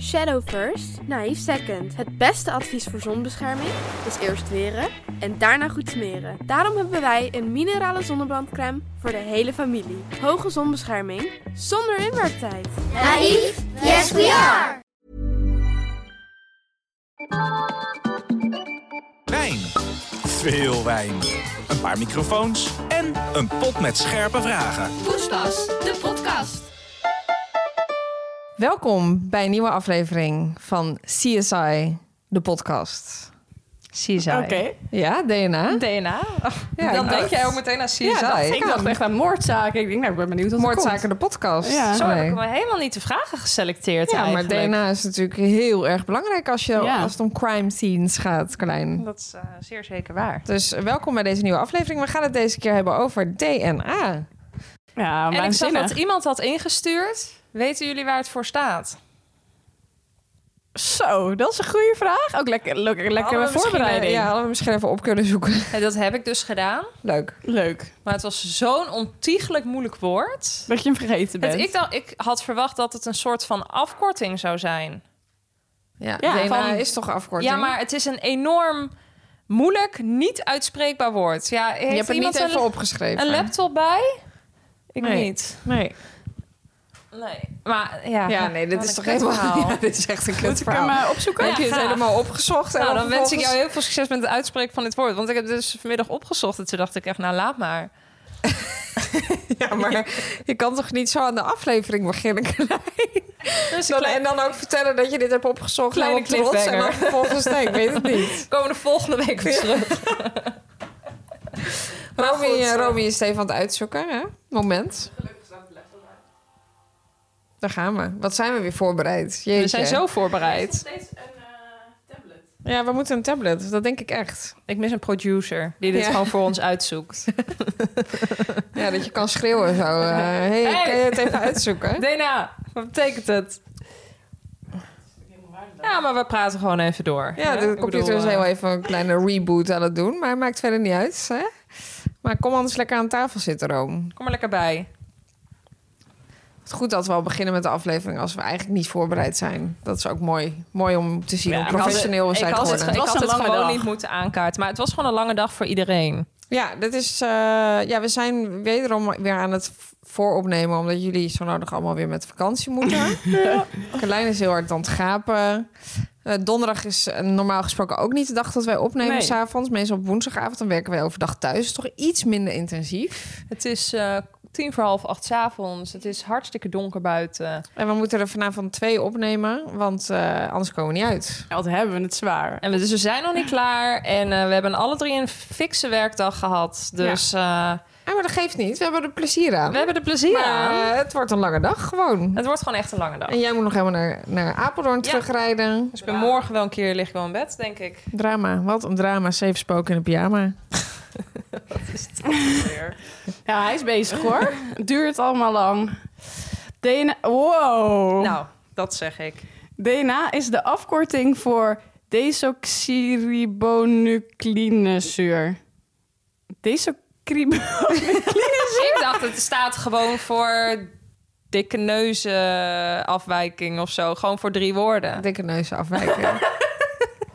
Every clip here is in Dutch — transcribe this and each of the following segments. Shadow first, naïef second. Het beste advies voor zonbescherming is eerst weren en daarna goed smeren. Daarom hebben wij een minerale zonnebrandcrème voor de hele familie. Hoge zonbescherming zonder inwerktijd. Naïef? Yes, we are! Wijn. Veel wijn. Een paar microfoons en een pot met scherpe vragen. Poespas, de podcast. Welkom bij een nieuwe aflevering van CSI, de podcast. CSI. Oké, Ja, DNA. DNA. Ja, dan ik denk dacht- jij ook meteen aan CSI. Ja, dat- ik ik dacht kan. echt aan moordzaken. Ik denk, nou, ik ben benieuwd wat er Moordzaken, de podcast. Ja. Nee. Zo heb ik me helemaal niet de vragen geselecteerd Ja, maar eigenlijk. DNA is natuurlijk heel erg belangrijk als, je, Ja. als het om crime scenes gaat, Klein. Dat is eh, zeer zeker waar. Dus welkom bij deze nieuwe aflevering. We gaan het deze keer hebben over DNA. komt. Ja, en ik zag waanzinnig. dat iemand had ingestuurd. Weten jullie waar het voor staat? Zo, Oh, dat is een goede vraag. Ook lekker, lekker, lekker Hadden met we misschien, voorbereiding. eh, Ja, hadden we misschien even op kunnen zoeken. En dat heb ik dus gedaan. Leuk. Leuk, Maar het was zo'n ontiegelijk moeilijk woord. dat je hem vergeten Het, bent. ik, dan, ik had verwacht dat het een soort van afkorting zou zijn. Ja, Ja, DNA van- is toch afkorting? Ja, maar het is een enorm moeilijk, niet uitspreekbaar woord. Ja, heeft Je hebt het iemand niet een, even opgeschreven. een laptop bij? Ik Nee. niet. Nee. Nee. Maar ja. Ja, nee, dit Wat is toch een kut helemaal... verhaal. Ja, dit is echt een kut Moet ik hem eh, Dan opzoeken? heb je het helemaal opgezocht. en Nou, dan wens ik vervolgens- jou heel veel succes met het uitspreken van dit woord. Want ik heb het dus vanmiddag opgezocht en toen dacht ik echt, nou laat maar. Ja, maar je kan toch niet zo aan de aflevering beginnen? Klein? Dus Dan, dan en dan ook vertellen dat je dit hebt opgezocht. Kleine nou, op trots, En dan cliffhanger. vervolgens, nee, ik weet het niet. komen we de volgende week weer terug. Maar Romy, goed, eh, eh. Romy is het even aan het uitzoeken, hè? Moment. Daar gaan we. Wat zijn we weer voorbereid? Jeetje. We zijn zo voorbereid. Ja, we moeten een tablet. Dat denk ik echt. Ik mis een producer die dit Ja. gewoon voor ons uitzoekt. Ja, dat je kan schreeuwen zo. eh, hey, Hey. kan je het even uitzoeken? DNA, wat betekent het? Ja, maar we praten gewoon even door. Ja, de Ik computer bedoel, is eh, heel even een kleine reboot aan het doen. Maar maakt verder niet uit, hè? Maar kom anders lekker aan tafel zitten, Room. Kom maar lekker bij. Het is goed dat we al beginnen met de aflevering als we eigenlijk niet voorbereid zijn. Dat is ook mooi. Mooi om te zien Ja, hoe ik had professioneel we het- zijn ik had geworden. het, ik Het was had een het lange gewoon dag. niet moeten aankaarten. Maar het was gewoon een lange dag voor iedereen. Ja, dat is, eh, ja, we zijn wederom weer aan het vooropnemen... omdat jullie zo nodig allemaal weer met vakantie moeten. Carlijn is heel hard aan het gapen. Eh, donderdag is eh, normaal gesproken ook niet de dag dat wij opnemen Nee. s'avonds. Meestal op woensdagavond, dan werken wij overdag thuis. Toch iets minder intensief. Het is eh, tien voor half acht 's avonds. Het is hartstikke donker buiten. En we moeten er vanavond twee opnemen, want eh, anders komen we niet uit. Ja, Wat hebben we het zwaar. En we, dus we zijn nog niet klaar. En eh, we hebben alle drie een fikse werkdag gehad. Dus eh, Ja, maar dat geeft niet. We hebben er plezier aan. we hebben er plezier aan. Oh. Maar eh, het wordt een lange dag gewoon. Het wordt gewoon echt een lange dag. En jij moet nog helemaal naar, naar Apeldoorn Ja. terugrijden. Dus ik ben morgen wel een keer lig ik wel in bed, denk ik. Drama. Wat een drama. Safe spoken in de pyjama. Nou, Ja, hij is bezig hoor. Het duurt allemaal lang. DNA... Wow. Nou, dat zeg ik. DNA is de afkorting voor desoxyribonuclinezuur. Desoxyribonuclinezuur? ik dacht, het staat gewoon voor dikke neuzenafwijking of zo. Gewoon voor drie woorden. Dikke neus afwijken.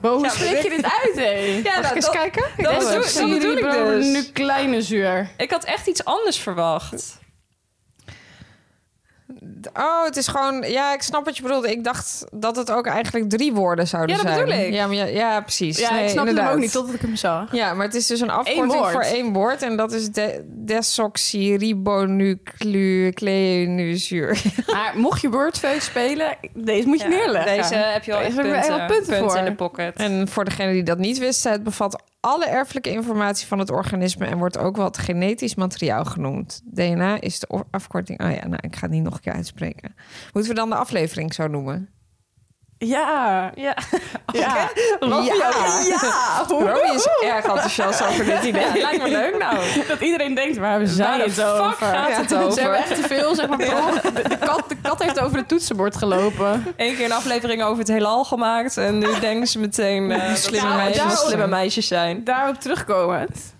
Hoe spreek je dit uit, hé? Ja, Mag ik nou, eens dat- kijken? Ik dat wil bedoel- het dat zien. bedoel ik dus. Cerebralnucleinezuur. ik had echt iets anders verwacht. Oh, het is gewoon... Ja, ik snap wat je bedoelt. Ik dacht dat het ook eigenlijk drie woorden zouden Ja, zijn. dat bedoel ik. Ja, maar ja, ja, precies. Ja, dus. Nee, ik snap hem inderdaad. ook niet totdat ik hem zag. Ja, maar het is dus een afkorting woord. voor één woord. En dat is de desoxyribonucleinezuur. Maar mocht je Wordfeud spelen, deze moet je Ja, neerleggen. Deze heb je al Deze echt hebben we punten, echt wel punten Punt voor. in de pocket. En voor degene die dat niet wisten, het bevat alle erfelijke informatie van het organisme en wordt ook wel het genetisch materiaal genoemd. DNA is de o- afkorting. Oh ja, nou, ik ga het niet nog een keer uitspreken. Moeten we dan de aflevering zo noemen? Ja. Ja. Ja. ja. Ja. Romy is erg enthousiast over dit idee. Ja, lijkt me leuk nou. Dat iedereen denkt, waar hebben zij Waar de het fuck over? gaat het over? Ze hebben echt te veel, zeg maar. per ongeluk. De, de kat, de kat heeft over het toetsenbord gelopen. Eén keer een aflevering over het heelal gemaakt. En nu denken ze meteen eh, Ah. dat Slimme ze allemaal meisjes. slimme meisjes zijn. Daarop terugkomend.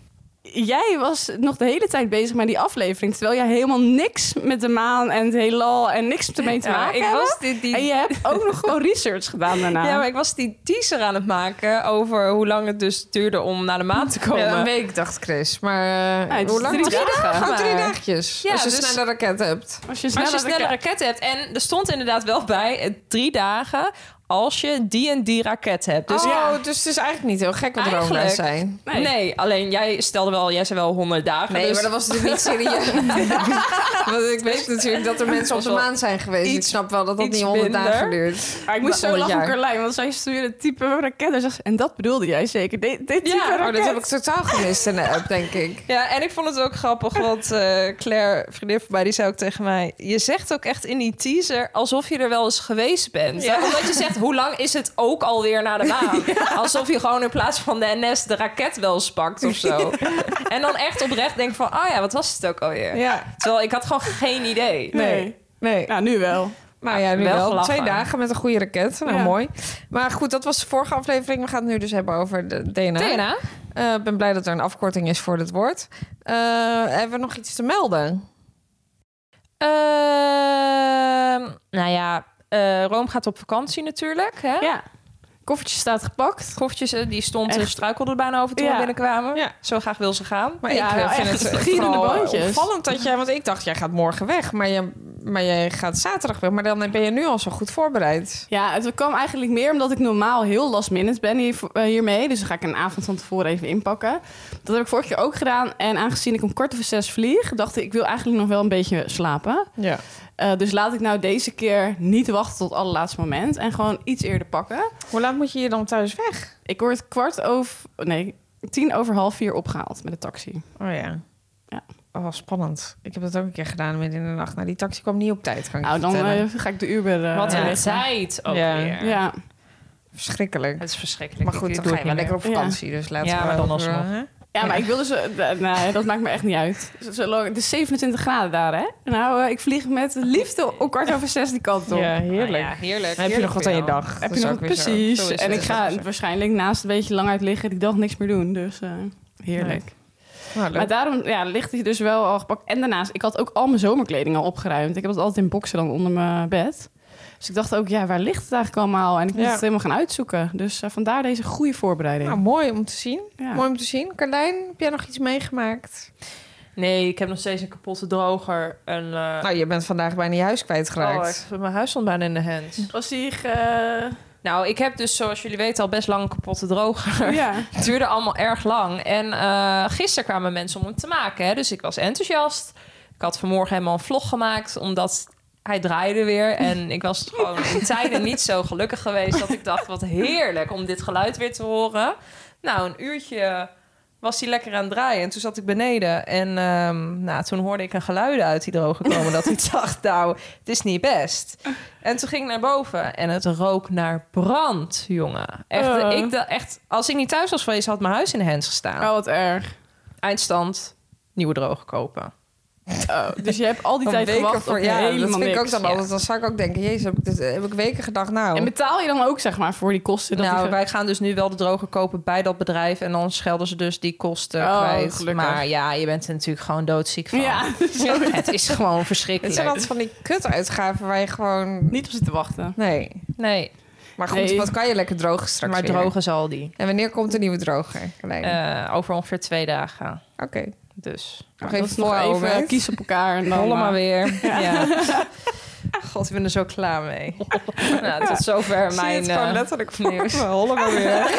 jij was nog de hele tijd bezig met die aflevering. Terwijl jij helemaal niks met de maan en het heelal en niks ermee te Ja, maken ik hebt. was die, die, En je hebt ook nog gewoon research gedaan daarna. ja, maar ik was die teaser aan het maken over hoe lang het dus duurde om naar de maan te komen. Ja, een week, dacht Chris. Maar eh, het is hoe lang drie was het? dagen. Gewoon drie Maar- dagjes. Ja, als je dus- snelle raket hebt. Als je Maar sneller als je snelle de- raket hebt. En er stond inderdaad wel bij eh, drie dagen als je die en die raket hebt. Dus oh, ja, dus het is eigenlijk niet heel gek wat Eigenlijk- droomles zijn. nee. alleen jij stelde wel, jij zei wel 100 dagen. Nee, dus maar dat was natuurlijk niet serieus. Want ik weet natuurlijk dat er mensen op de was wel maan zijn geweest. ik iets- snap wel dat dat iets niet honderd dagen minder. duurt. Maar ik oh, moest Maar zo lachen om honderd jaar. Carlijn, want zij stuurde het type raket. En, zegt ze, en dat bedoelde jij zeker? Dit, dit Ja, type oh, dat Oh, raket? dat heb ik totaal gemist in de app, denk ik. Ja, en ik vond het ook grappig, want eh, Claire, vriendin van mij, die zei ook tegen mij... Je zegt ook echt in die teaser alsof je er wel eens geweest bent. Omdat je zegt, hoe lang is het ook alweer naar de maan? Alsof je gewoon in plaats van de NS de raket wel eens pakt of zo. En dan echt oprecht denken van, oh ja, wat was het ook alweer? Ja, Terwijl ik had gewoon geen idee. Nee. nee. Nou, nu wel. Maar ja, nu Ah, Wel wel. gelachen. Twee dagen met een goede raket. Nou, Ja. mooi. Maar goed, dat was de vorige aflevering. We gaan het nu dus hebben over de DNA. DNA? Eh, Ik ben blij dat er een afkorting is voor dit woord. Eh, hebben we nog iets te melden? Ehm, nou ja, eh Rome gaat op vakantie natuurlijk. Hè? Ja. Koffertje staat gepakt. Koffertjes, eh, die stond en Echt. struikelde er bijna over toen Ja. we binnenkwamen. Ja. Zo graag wil ze gaan. Maar Ja, ik eh, nou, vind echt, het eh, gieren in de vooral bandjes. opvallend dat jij... Want ik dacht, jij gaat morgen weg. Maar, je, maar jij gaat zaterdag weg. Maar dan ben je nu al zo goed voorbereid. Ja, het kwam eigenlijk meer omdat ik normaal heel last minute ben hier, eh, hiermee. Dus dan ga ik een avond van tevoren even inpakken. Dat heb ik vorig jaar ook gedaan. En aangezien ik om kwart over zes vlieg, dacht ik, ik wil eigenlijk nog wel een beetje slapen. Ja. Eh, dus laat ik nou deze keer niet wachten tot het allerlaatste moment. En gewoon iets eerder pakken. Hoe laat moet je hier dan thuis weg? Ik word kwart over... Nee, tien over half vier opgehaald met de taxi. Oh ja. Ja. Oh, spannend. Ik heb dat ook een keer gedaan midden in de nacht. Nou, die taxi kwam niet op tijd, kan ik Nou, je dan vertellen. eh, ga ik de Uber... eh, Wat Ja. een tijd ook Ja. weer. Ja. Verschrikkelijk. Het is verschrikkelijk. Maar Ik goed, dan doe ga het je wel niet lekker op meer. vakantie. Dus laten Ja, we maar dan over, alsnog. hè? Ja, maar ik wil dus... eh, nee, dat maakt me echt niet uit. Z- Zolang, het is 27 graden daar, hè? Nou, eh, ik vlieg met liefde om kwart over zes die kant op. Ja, meer. heerlijk. Ah ja, heerlijk. Dan heb je nog wat aan je dag. Dat Heb je is nog ook weer zo. precies. Zo is het. en ik Dat is ga ook zo. waarschijnlijk naast een beetje lang uit liggen die dag niks meer doen. Dus eh, heerlijk. Nou, leuk. Maar daarom ja, ligt hij dus wel al gepakt. En daarnaast, ik had ook al mijn zomerkleding al opgeruimd. Ik heb dat altijd in boksen dan onder mijn bed. Dus ik dacht ook, ja, waar ligt het eigenlijk allemaal? En ik moest Ja. het helemaal gaan uitzoeken. Dus eh, vandaar deze goede voorbereiding. Nou, mooi om te zien. Ja. Mooi om te zien. Carlijn, heb jij nog iets meegemaakt? Nee, ik heb nog steeds een kapotte droger. En, eh, Nou, je bent vandaag bijna je huis oh, kwijtgeraakt. ik heb mijn huis stond bijna in de hand. Was eh, hij... ge- Nou, ik heb dus, zoals jullie weten, al best lang een kapotte droger. ja. Het duurde allemaal erg lang. En eh, gisteren kwamen mensen om hem te maken. Hè? Dus ik was enthousiast. Ik had vanmorgen helemaal een vlog gemaakt, omdat hij draaide weer. En ik was gewoon in tijden niet zo gelukkig geweest dat ik dacht, wat heerlijk om dit geluid weer te horen. Nou, een uurtje was hij lekker aan het draaien. En toen zat ik beneden en ehm, nou, toen hoorde ik een geluid uit die droger komen. dat ik dacht, nou, het is niet best. En toen ging ik naar boven en het rook naar brand, jongen. Echt, Eh. ik dacht echt, als ik niet thuis was geweest, had mijn huis in de hens gestaan. Oh, wat erg. Eindstand, nieuwe droger kopen. Oh, dus je hebt al die Een tijd weken gewacht voor- op ja, helemaal dat vind ik ook niks. dan altijd. Dan zou ik ook denken, jezus, heb ik, dit- heb ik weken gedacht, nou... En betaal je dan ook, zeg maar, voor die kosten? Dat nou, die- wij gaan dus nu wel de droger kopen bij dat bedrijf. En dan schelden ze dus die kosten Oh, kwijt. gelukkig. Maar ja, je bent er natuurlijk gewoon doodziek van. Ja, Het is gewoon het verschrikkelijk. zijn altijd van die kutuitgaven waar je gewoon... niet op zitten wachten. Nee. Nee, Maar goed, Nee. wat kan je lekker drogen straks maar weer? drogen zal die. En wanneer komt de nieuwe droger, Carlijn? Eh, over ongeveer twee dagen. Oké. Dus. Nog Nou, dat even is nog even volhouden. kies op elkaar. En dan, Rollen maar eh, weer. Ja. God, ik ben er zo klaar mee. nou, tot zover Zie je mijn... het gewoon eh, letterlijk voor nieuws. me. Hollen maar weer.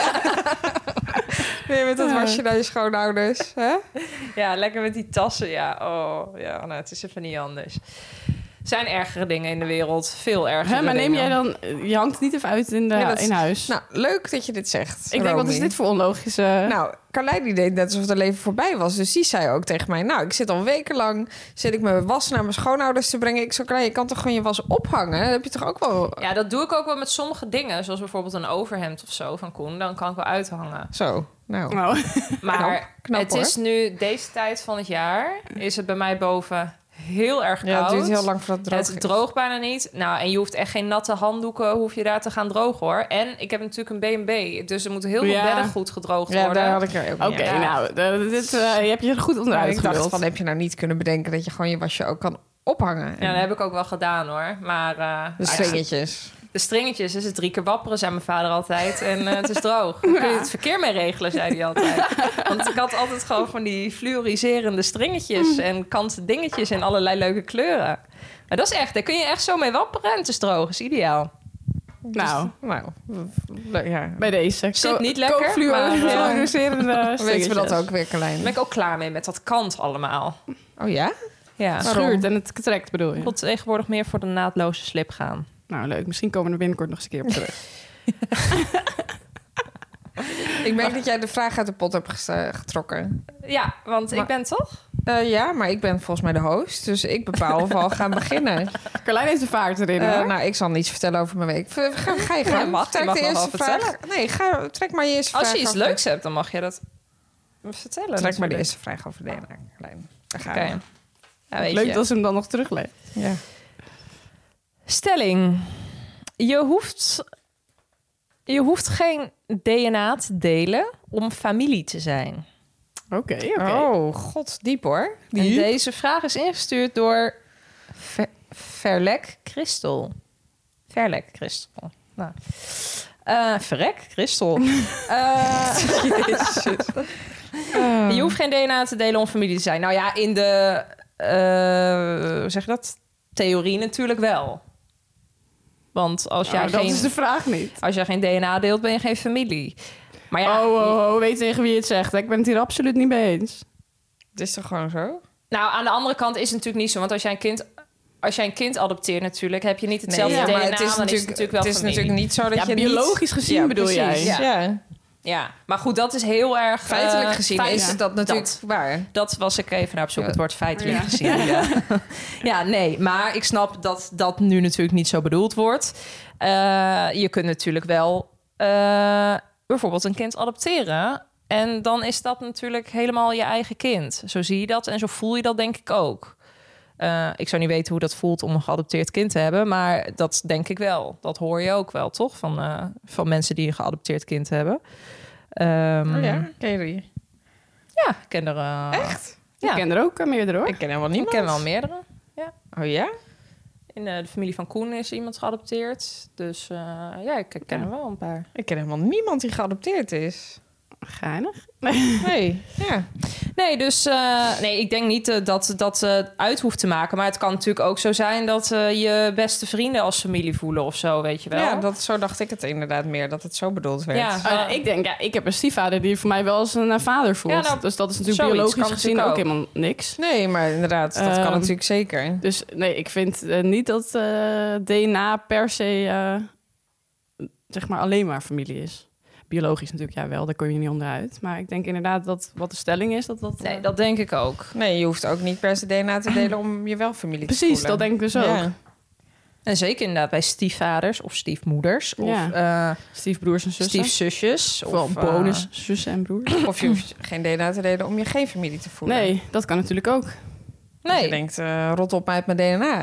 Nee, met dat wasje naar je schoonouders. Hè? ja, lekker met die tassen. Ja, oh, ja nou, het is even niet anders. Er zijn ergere dingen in de wereld. Veel ergere Hè, maar neem dingen. jij dan... Je hangt het niet even uit in, de, Ja, dat is- in huis. Nou, leuk dat je dit zegt. ik denk, wat Romy. is dit voor onlogische... Nou, Carlijn die deed net alsof het leven voorbij was. Dus die zei ook tegen mij... Nou, ik zit al wekenlang... zit ik mijn was naar mijn schoonouders te brengen. Ik zo, Carlijn, je kan toch gewoon je was ophangen? Dat heb je toch ook wel... Ja, dat doe ik ook wel met sommige dingen. Zoals bijvoorbeeld een overhemd of zo van Koen. Dan kan ik wel uithangen. Zo, nou. Nou, Maar knap het hoor. is nu, deze tijd van het jaar... is het bij mij boven heel erg koud. Ja, het duurt heel lang voordat het droog Het is. droogt bijna niet. Nou, en je hoeft echt geen natte handdoeken hoef je daar te gaan drogen hoor. En ik heb natuurlijk een B&B, dus er moeten heel veel Ja. bedden goed gedroogd Ja, worden. daar had ik er ook Oké, niet aan. Ja. nou, eh, dit, eh, je hebt je er goed Maar onderuit ik dacht geduld. van, heb je nou niet kunnen bedenken dat je gewoon je wasje ook kan ophangen? Ja, dat heb ik ook wel gedaan hoor. Maar eh, De stringetjes. de stringetjes is het drie keer wapperen, zei mijn vader altijd. En eh, het is droog. Daar kun je het verkeer mee regelen, zei hij altijd. Want ik had altijd gewoon van die fluoriserende stringetjes en kanten dingetjes in allerlei leuke kleuren. Maar dat is echt, daar kun je echt zo mee wapperen en het is droog. is ideaal. Nou, Nou, leuk, ja. bij deze. Zit Ko- niet lekker, koopfluo- maar, eh, fluoriserende Dan weten we dat stingetjes. ook weer, Carlijn. Daar ben ik ook klaar mee met dat kant allemaal. Oh ja? Ja. Het schuurt en het trekt, bedoel Ik je? wil tegenwoordig meer voor de naadloze slip gaan. Nou, leuk. Misschien komen we er binnenkort nog eens een keer op terug. Ik merk dat jij de vraag uit de pot hebt ges- eh, getrokken. Ja, want Maar- ik ben toch? Eh, ja, maar ik ben volgens mij de host, dus ik bepaal of we al gaan beginnen. Carlijn heeft de vaart erin, Eh, hoor. nou, ik zal niets vertellen over mijn week. Ga, ga, ga je gang. Ja, mag. Je Trek mag de nog eerste wel vraag. Nee, ga, trek maar je eerste Als vraag je iets af. leuks hebt, dan mag je dat vertellen. Trek maar de natuurlijk. eerste vraag over de DNA, Carlijn. Daar gaan Oké. we. Ja, weet leuk je. dat ze hem dan nog terugleest. Ja. Stelling. Je hoeft, je hoeft geen DNA te delen om familie te zijn. Oké, oké. Nou, Oh, god, diep hoor. En deze vraag is ingestuurd door Ver- Verlek Christel. Verlek Christel. Nou. Eh, verrek Christel. Eh, Oh. je hoeft geen DNA te delen om familie te zijn. Nou ja, in de eh, hoe zeg je dat? Theorie natuurlijk wel. Want als jij Nou, dat geen is de vraag niet. als jij geen DNA deelt, ben je geen familie. Maar ja, Oh, oh, oh, weet tegen wie je het zegt. hè? Ik ben het hier absoluut niet mee eens. Het is toch gewoon zo? nou aan de andere kant is het natuurlijk niet zo, want als jij een kind als jij een kind adopteert natuurlijk, heb je niet hetzelfde ja, DNA, maar het is dan natuurlijk, is het natuurlijk wel het is familie. natuurlijk niet zo dat Ja, je niet- biologisch gezien Ja, bedoel precies, jij. Ja. Ja, maar goed, dat is heel erg eh, Feitelijk gezien feit- is dat natuurlijk Dat. waar. Dat was ik even naar op zoek, Ja. het woord feitelijk Ja. gezien. Ja. ja, nee, maar ik snap dat dat nu natuurlijk niet zo bedoeld wordt. Eh, je kunt natuurlijk wel eh, bijvoorbeeld een kind adopteren. En dan is dat natuurlijk helemaal je eigen kind. Zo zie je dat en zo voel je dat denk ik ook. Eh, ik zou niet weten hoe dat voelt om een geadopteerd kind te hebben, maar dat denk ik wel. Dat hoor je ook wel, toch? Van, eh, van mensen die een geadopteerd kind hebben. Ehm, Oh ja. ja, ken je die? ik ken er. eh, Echt? Ja. Ik ken er ook eh, meerdere, hoor. Ik ken helemaal ik niemand. ken wel meerdere. Oh ja? In eh, de familie van Koen is iemand geadopteerd. Dus eh, ja, ik ken er wel een paar. Ik ken helemaal niemand die geadopteerd is. Geinig. Nee, ja. Nee, dus eh, nee, ik denk niet eh, dat dat eh, uit hoeft te maken. Maar het kan natuurlijk ook zo zijn dat eh, je beste vrienden als familie voelen of zo, weet je wel. Ja, dat, zo dacht ik het inderdaad meer, dat het zo bedoeld werd. Ja. Oh, ja, ik denk, ja, ik heb een stiefvader die voor mij wel als een eh, vader voelt. Ja, nou, dus dat is natuurlijk zoiets biologisch kan gezien ook. natuurlijk helemaal niks. Nee, maar inderdaad, dat kan Ehm, natuurlijk zeker. Dus nee, ik vind eh, niet dat eh, DNA per se eh, zeg maar alleen maar familie is. Biologisch natuurlijk, ja wel, daar kom je niet onderuit. Maar ik denk inderdaad dat wat de stelling is, dat dat... eh, Nee, dat denk ik ook. Nee, je hoeft ook niet per se DNA te delen om je wel familie te Precies, voelen. dat denk ik dus ook. Ja. En zeker inderdaad bij stiefvaders of stiefmoeders of eh, Stiefbroers en zussen. stiefzusjes. Vooral of eh, bonus zussen en broers. Of je hoeft geen DNA te delen om je geen familie te voelen. Nee, dat kan natuurlijk ook. Dat Je nee, denkt, eh, rot op mij uit mijn DNA.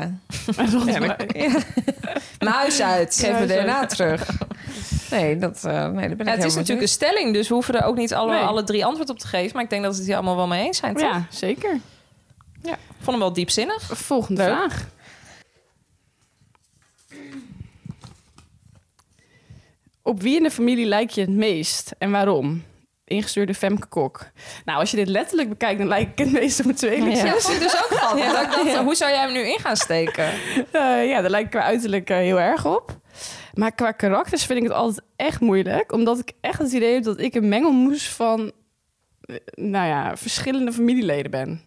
Ja, Ja, maar- dan- ja. mijn huis uit. Geef mijn sorry. DNA terug. Nee, dat, eh, nee, dat ben Ja, ik het is helemaal natuurlijk een niet. stelling, dus we hoeven er ook niet alle, Nee. alle drie antwoord op te geven. Maar ik denk dat we het hier allemaal wel mee eens zijn. Toch? ja, zeker. Ik vond hem wel diepzinnig. Volgende Leuk. vraag. Op wie in de familie lijk je het meest en waarom? Ingestuurde Femke Kok. Nou, als je dit letterlijk bekijkt, dan lijk ik het meest op mijn tweeling. Ja, Ja. dat vond ik dus ook van. Dat ik dacht, hoe zou jij hem nu in gaan steken? Eh, ja, daar lijk ik qua uiterlijk eh, heel erg op. Maar qua karakters vind ik het altijd echt moeilijk. Omdat ik echt het idee heb dat ik een mengelmoes van... eh, Nou ja, verschillende familieleden ben.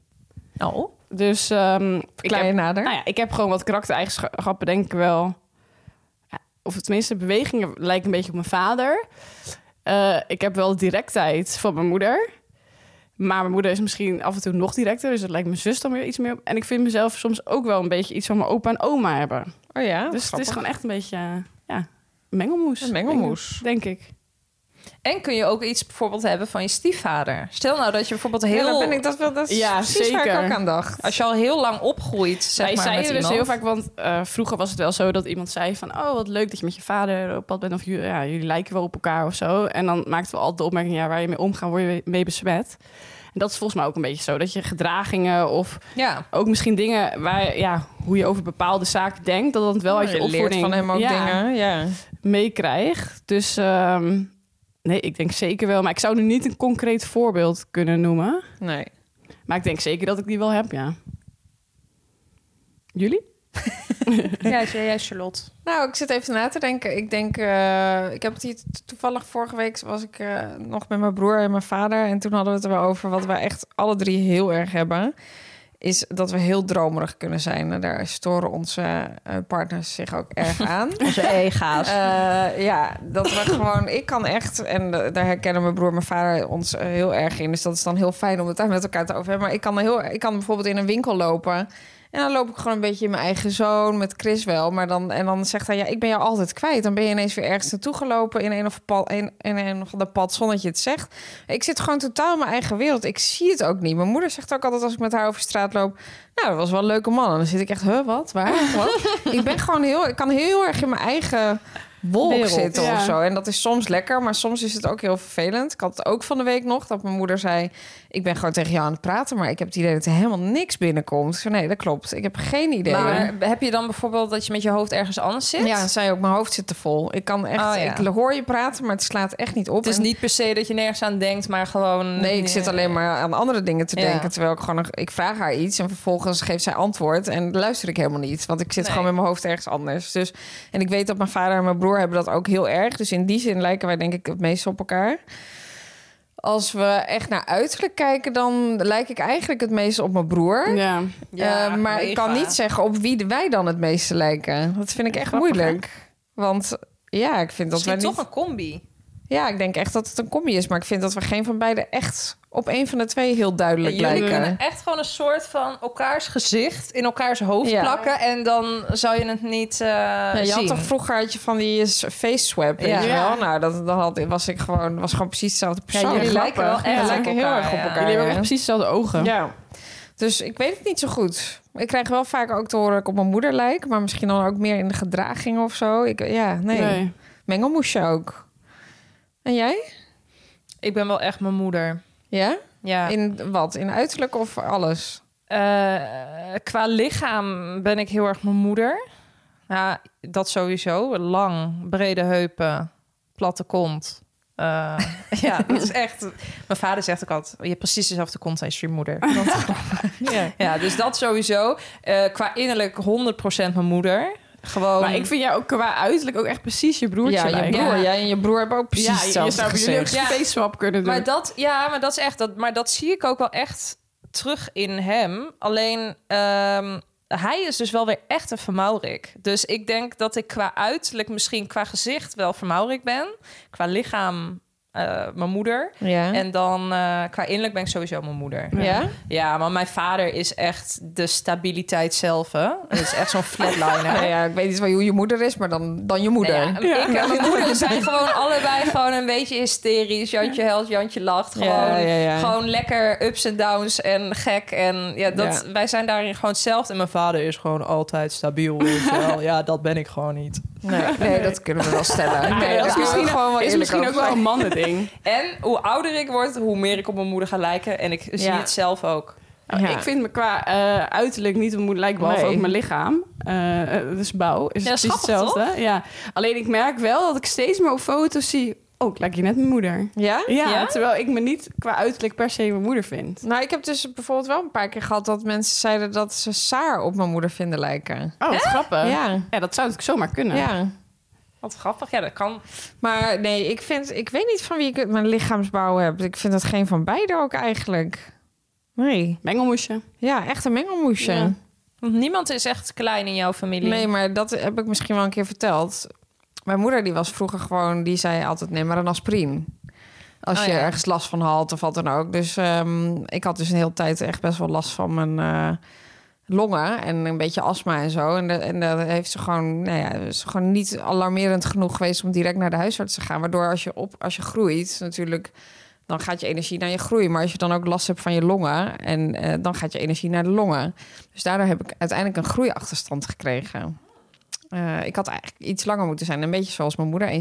Nou, Dus ehm ik Klein heb nader. Nou ja, ik heb gewoon wat karaktereigenschappen, denk ik wel. Ja, Of tenminste, bewegingen lijken een beetje op mijn vader. Eh, ik heb wel directheid van mijn moeder. Maar mijn moeder is misschien af en toe nog directer. Dus dat lijkt mijn zus dan weer iets meer op. En ik vind mezelf soms ook wel een beetje iets van mijn opa en oma hebben. Oh ja, dus het is grappig. gewoon echt een beetje, eh, ja, mengelmoes. Een mengelmoes. Denk ik. En kun je ook iets bijvoorbeeld hebben van je stiefvader. Stel nou dat je bijvoorbeeld Ja, heel... dan ben ik dat wel. Dat is Ja, precies waar ik zeker. ook aan dacht. Als je al heel lang opgroeit, zeg Wij maar, met zeiden dus iemand. heel vaak, want eh, vroeger was het wel zo dat iemand zei van... oh, wat leuk dat je met je vader op pad bent of ju- ja, jullie lijken wel op elkaar of zo. En dan maakten we altijd de opmerking, ja, waar je mee omgaat, word je mee besmet. En dat is volgens mij ook een beetje zo, dat je gedragingen of Ja. ook misschien dingen waar... ja, hoe je over bepaalde zaken denkt, dat dat wel uit je, Oh, leert opvoeding van hem ook ja, dingen. Ja. meekrijgt. Dus ehm, nee, ik denk zeker wel. Maar ik zou nu niet een concreet voorbeeld kunnen noemen. Nee. Maar ik denk zeker dat ik die wel heb, ja. Jullie? Ja, jij, Charlotte. Nou, ik zit even na te denken. Ik denk, eh, ik heb het hier to- toevallig vorige week was ik eh, nog met mijn broer en mijn vader. En toen hadden we het er wel over wat we echt alle drie heel erg hebben. Is dat we heel dromerig kunnen zijn. En daar storen onze eh, partners zich ook erg aan. Onze ega's. Eh, ja, dat we gewoon... Ik kan echt... En da- daar herkennen mijn broer en mijn vader ons eh, heel erg in. Dus dat is dan heel fijn om het daar met elkaar te over hebben. Maar ik kan, heel, ik kan bijvoorbeeld in een winkel lopen... En dan loop ik gewoon een beetje in mijn eigen zoon, met Chris wel. Maar dan, en dan zegt hij, ja, ik ben jou altijd kwijt. Dan ben je ineens weer ergens naartoe gelopen in een of, pad, in, in een of ander pad zonder dat je het zegt. Ik zit gewoon totaal in mijn eigen wereld. Ik zie het ook niet. Mijn moeder zegt ook altijd als ik met haar over straat loop... nou, dat was wel een leuke man. En dan zit ik echt, huh, wat, waar, wat? ik ben gewoon heel, ik kan heel erg in mijn eigen wolk Wereld, zitten ja. of zo. En dat is soms lekker, maar soms is het ook heel vervelend. Ik had het ook van de week nog, dat mijn moeder zei... ik ben gewoon tegen jou aan het praten, maar ik heb het idee dat er helemaal niks binnenkomt. Ik zei, nee, dat klopt. Ik heb geen idee. Maar heb je dan bijvoorbeeld dat je met je hoofd ergens anders zit? ja, zei ook, mijn hoofd zit te vol. Ik kan echt, Oh, ja. ik hoor je praten, maar het slaat echt niet op. Het is En- niet per se dat je nergens aan denkt, maar gewoon... Nee, ik zit alleen maar aan andere dingen te Ja. denken. Terwijl ik gewoon, nog- ik vraag haar iets en vervolgens geeft zij antwoord en luister ik helemaal niet. Want ik zit Nee. gewoon met mijn hoofd ergens anders. Dus, en ik weet dat mijn vader en mijn broer hebben dat ook heel erg. Dus in die zin lijken wij denk ik het meest op elkaar. Als we echt naar uiterlijk kijken, dan lijk ik eigenlijk het meest op mijn broer. Ja. Ja, Eh, maar ik kan mega. niet zeggen op wie wij dan het meeste lijken. Dat vind ik echt Grappig, moeilijk. Want ja, ik vind dat Misschien wij niet... toch een combi. Ja, ik denk echt dat het een combi is. Maar ik vind dat we geen van beide echt op een van de twee heel duidelijk Jullie lijken. kunnen echt gewoon een soort van elkaars gezicht in elkaars hoofd Ja. plakken. En dan zou je het niet eh Ja, je had zien. toch vroeger had je van die s- face swap, weet Ja. je wel? Ja. Nou, dat, dan had, was ik gewoon, was gewoon precies dezelfde Ja, persoon. jullie Grappig. lijken wel echt Ja, op lijken heel elkaar, erg op ja. elkaar. Jullie hebben ook ja. echt precies dezelfde ogen. Ja. Dus ik weet het niet zo goed. Ik krijg wel vaak ook te horen dat ik op mijn moeder lijk. Maar misschien dan ook meer in de gedragingen of zo. Ik, ja, nee. Mengelmoesje ook. En jij? Ik ben wel echt mijn moeder. Ja? Ja. In wat? In uiterlijk of alles? Eh, qua lichaam ben ik heel erg mijn moeder. Ja, dat sowieso. Lang, brede heupen, platte kont. Eh, ja, dat is echt... Mijn vader zegt ook altijd... Je hebt precies dezelfde kont als je moeder. Ja. ja, dus dat sowieso. Eh, qua innerlijk 100% mijn moeder. Gewoon... Maar ik vind jou ook qua uiterlijk ook echt precies je broertje Ja, je lijken. broer. Ja. Jij en je broer hebben ook precies Ja, je- je, hetzelfde zou bij jullie ook gezicht. gezicht. face swap kunnen doen. Maar dat, ja, maar dat is echt dat. Maar dat zie ik ook wel echt terug in hem. Alleen ehm, hij is dus wel weer echt een vermaurik. Dus ik denk dat ik qua uiterlijk, misschien qua gezicht wel vermaurik ben. Qua lichaam eh, mijn moeder. Ja. En dan eh, qua innerlijk ben ik sowieso mijn moeder. ja? Ja, maar mijn vader is echt de stabiliteit zelf. Hè? Dat is echt zo'n flatliner. Nou ja, ik weet niet wel hoe je moeder is, maar dan, dan je moeder. Nou ja, Ik en mijn moeder zijn gewoon allebei gewoon een beetje hysterisch. Jantje helpt, Jantje lacht. Gewoon, Ja, ja, ja. gewoon lekker ups en downs en gek. En ja, dat, Ja. wij zijn daarin gewoon hetzelfde. En mijn vader is gewoon altijd stabiel. weet je wel. Ja, dat ben ik gewoon niet. nee, nee, dat kunnen we wel stellen. Nee, dat is misschien, gewoon wel Ah, is eerlijk misschien ook over wel zijn. een mannending. En hoe ouder ik word, hoe meer ik op mijn moeder ga lijken. En ik zie Ja. het zelf ook. Nou, Ja. Ik vind me qua eh, uiterlijk niet een moeder lijkt, behalve Nee. ook mijn lichaam. Eh, eh, dus bouw is Ja, precies schattig, hetzelfde. Ja. Alleen ik merk wel dat ik steeds meer op foto's zie... Oh, ik lijk je net mijn moeder. Ja? Ja, Ja? terwijl ik me niet qua uiterlijk per se mijn moeder vind. Nou, ik heb dus bijvoorbeeld wel een paar keer gehad dat mensen zeiden dat ze Saar op mijn moeder vinden lijken. Oh, wat grappig. Ja. Ja. dat zou natuurlijk zomaar kunnen. Ja. Wat grappig. Ja, dat kan. Maar nee, ik, vind, ik weet niet van wie ik het- mijn lichaamsbouw heb. Ik vind dat geen van beide ook eigenlijk. Nee. Mengelmoesje. Ja, echt een mengelmoesje. Ja. Want niemand is echt klein in jouw familie. Nee, maar dat heb ik misschien wel een keer verteld. Mijn moeder die was vroeger gewoon, die zei altijd neem maar een aspirine. Als Oh, je ja. ergens last van had of wat dan ook. Dus ehm, ik had dus een hele tijd echt best wel last van mijn eh, longen en een beetje astma en zo. En, de- en dat heeft ze gewoon, nou ja, is gewoon niet alarmerend genoeg geweest om direct naar de huisarts te gaan. Waardoor als je, op, als je groeit, natuurlijk, dan gaat je energie naar je groei. Maar als je dan ook last hebt van je longen, en eh, dan gaat je energie naar de longen. Dus daardoor heb ik uiteindelijk een groeiachterstand gekregen. Eh, ik had eigenlijk iets langer moeten zijn. Een beetje zoals mijn moeder, 1,70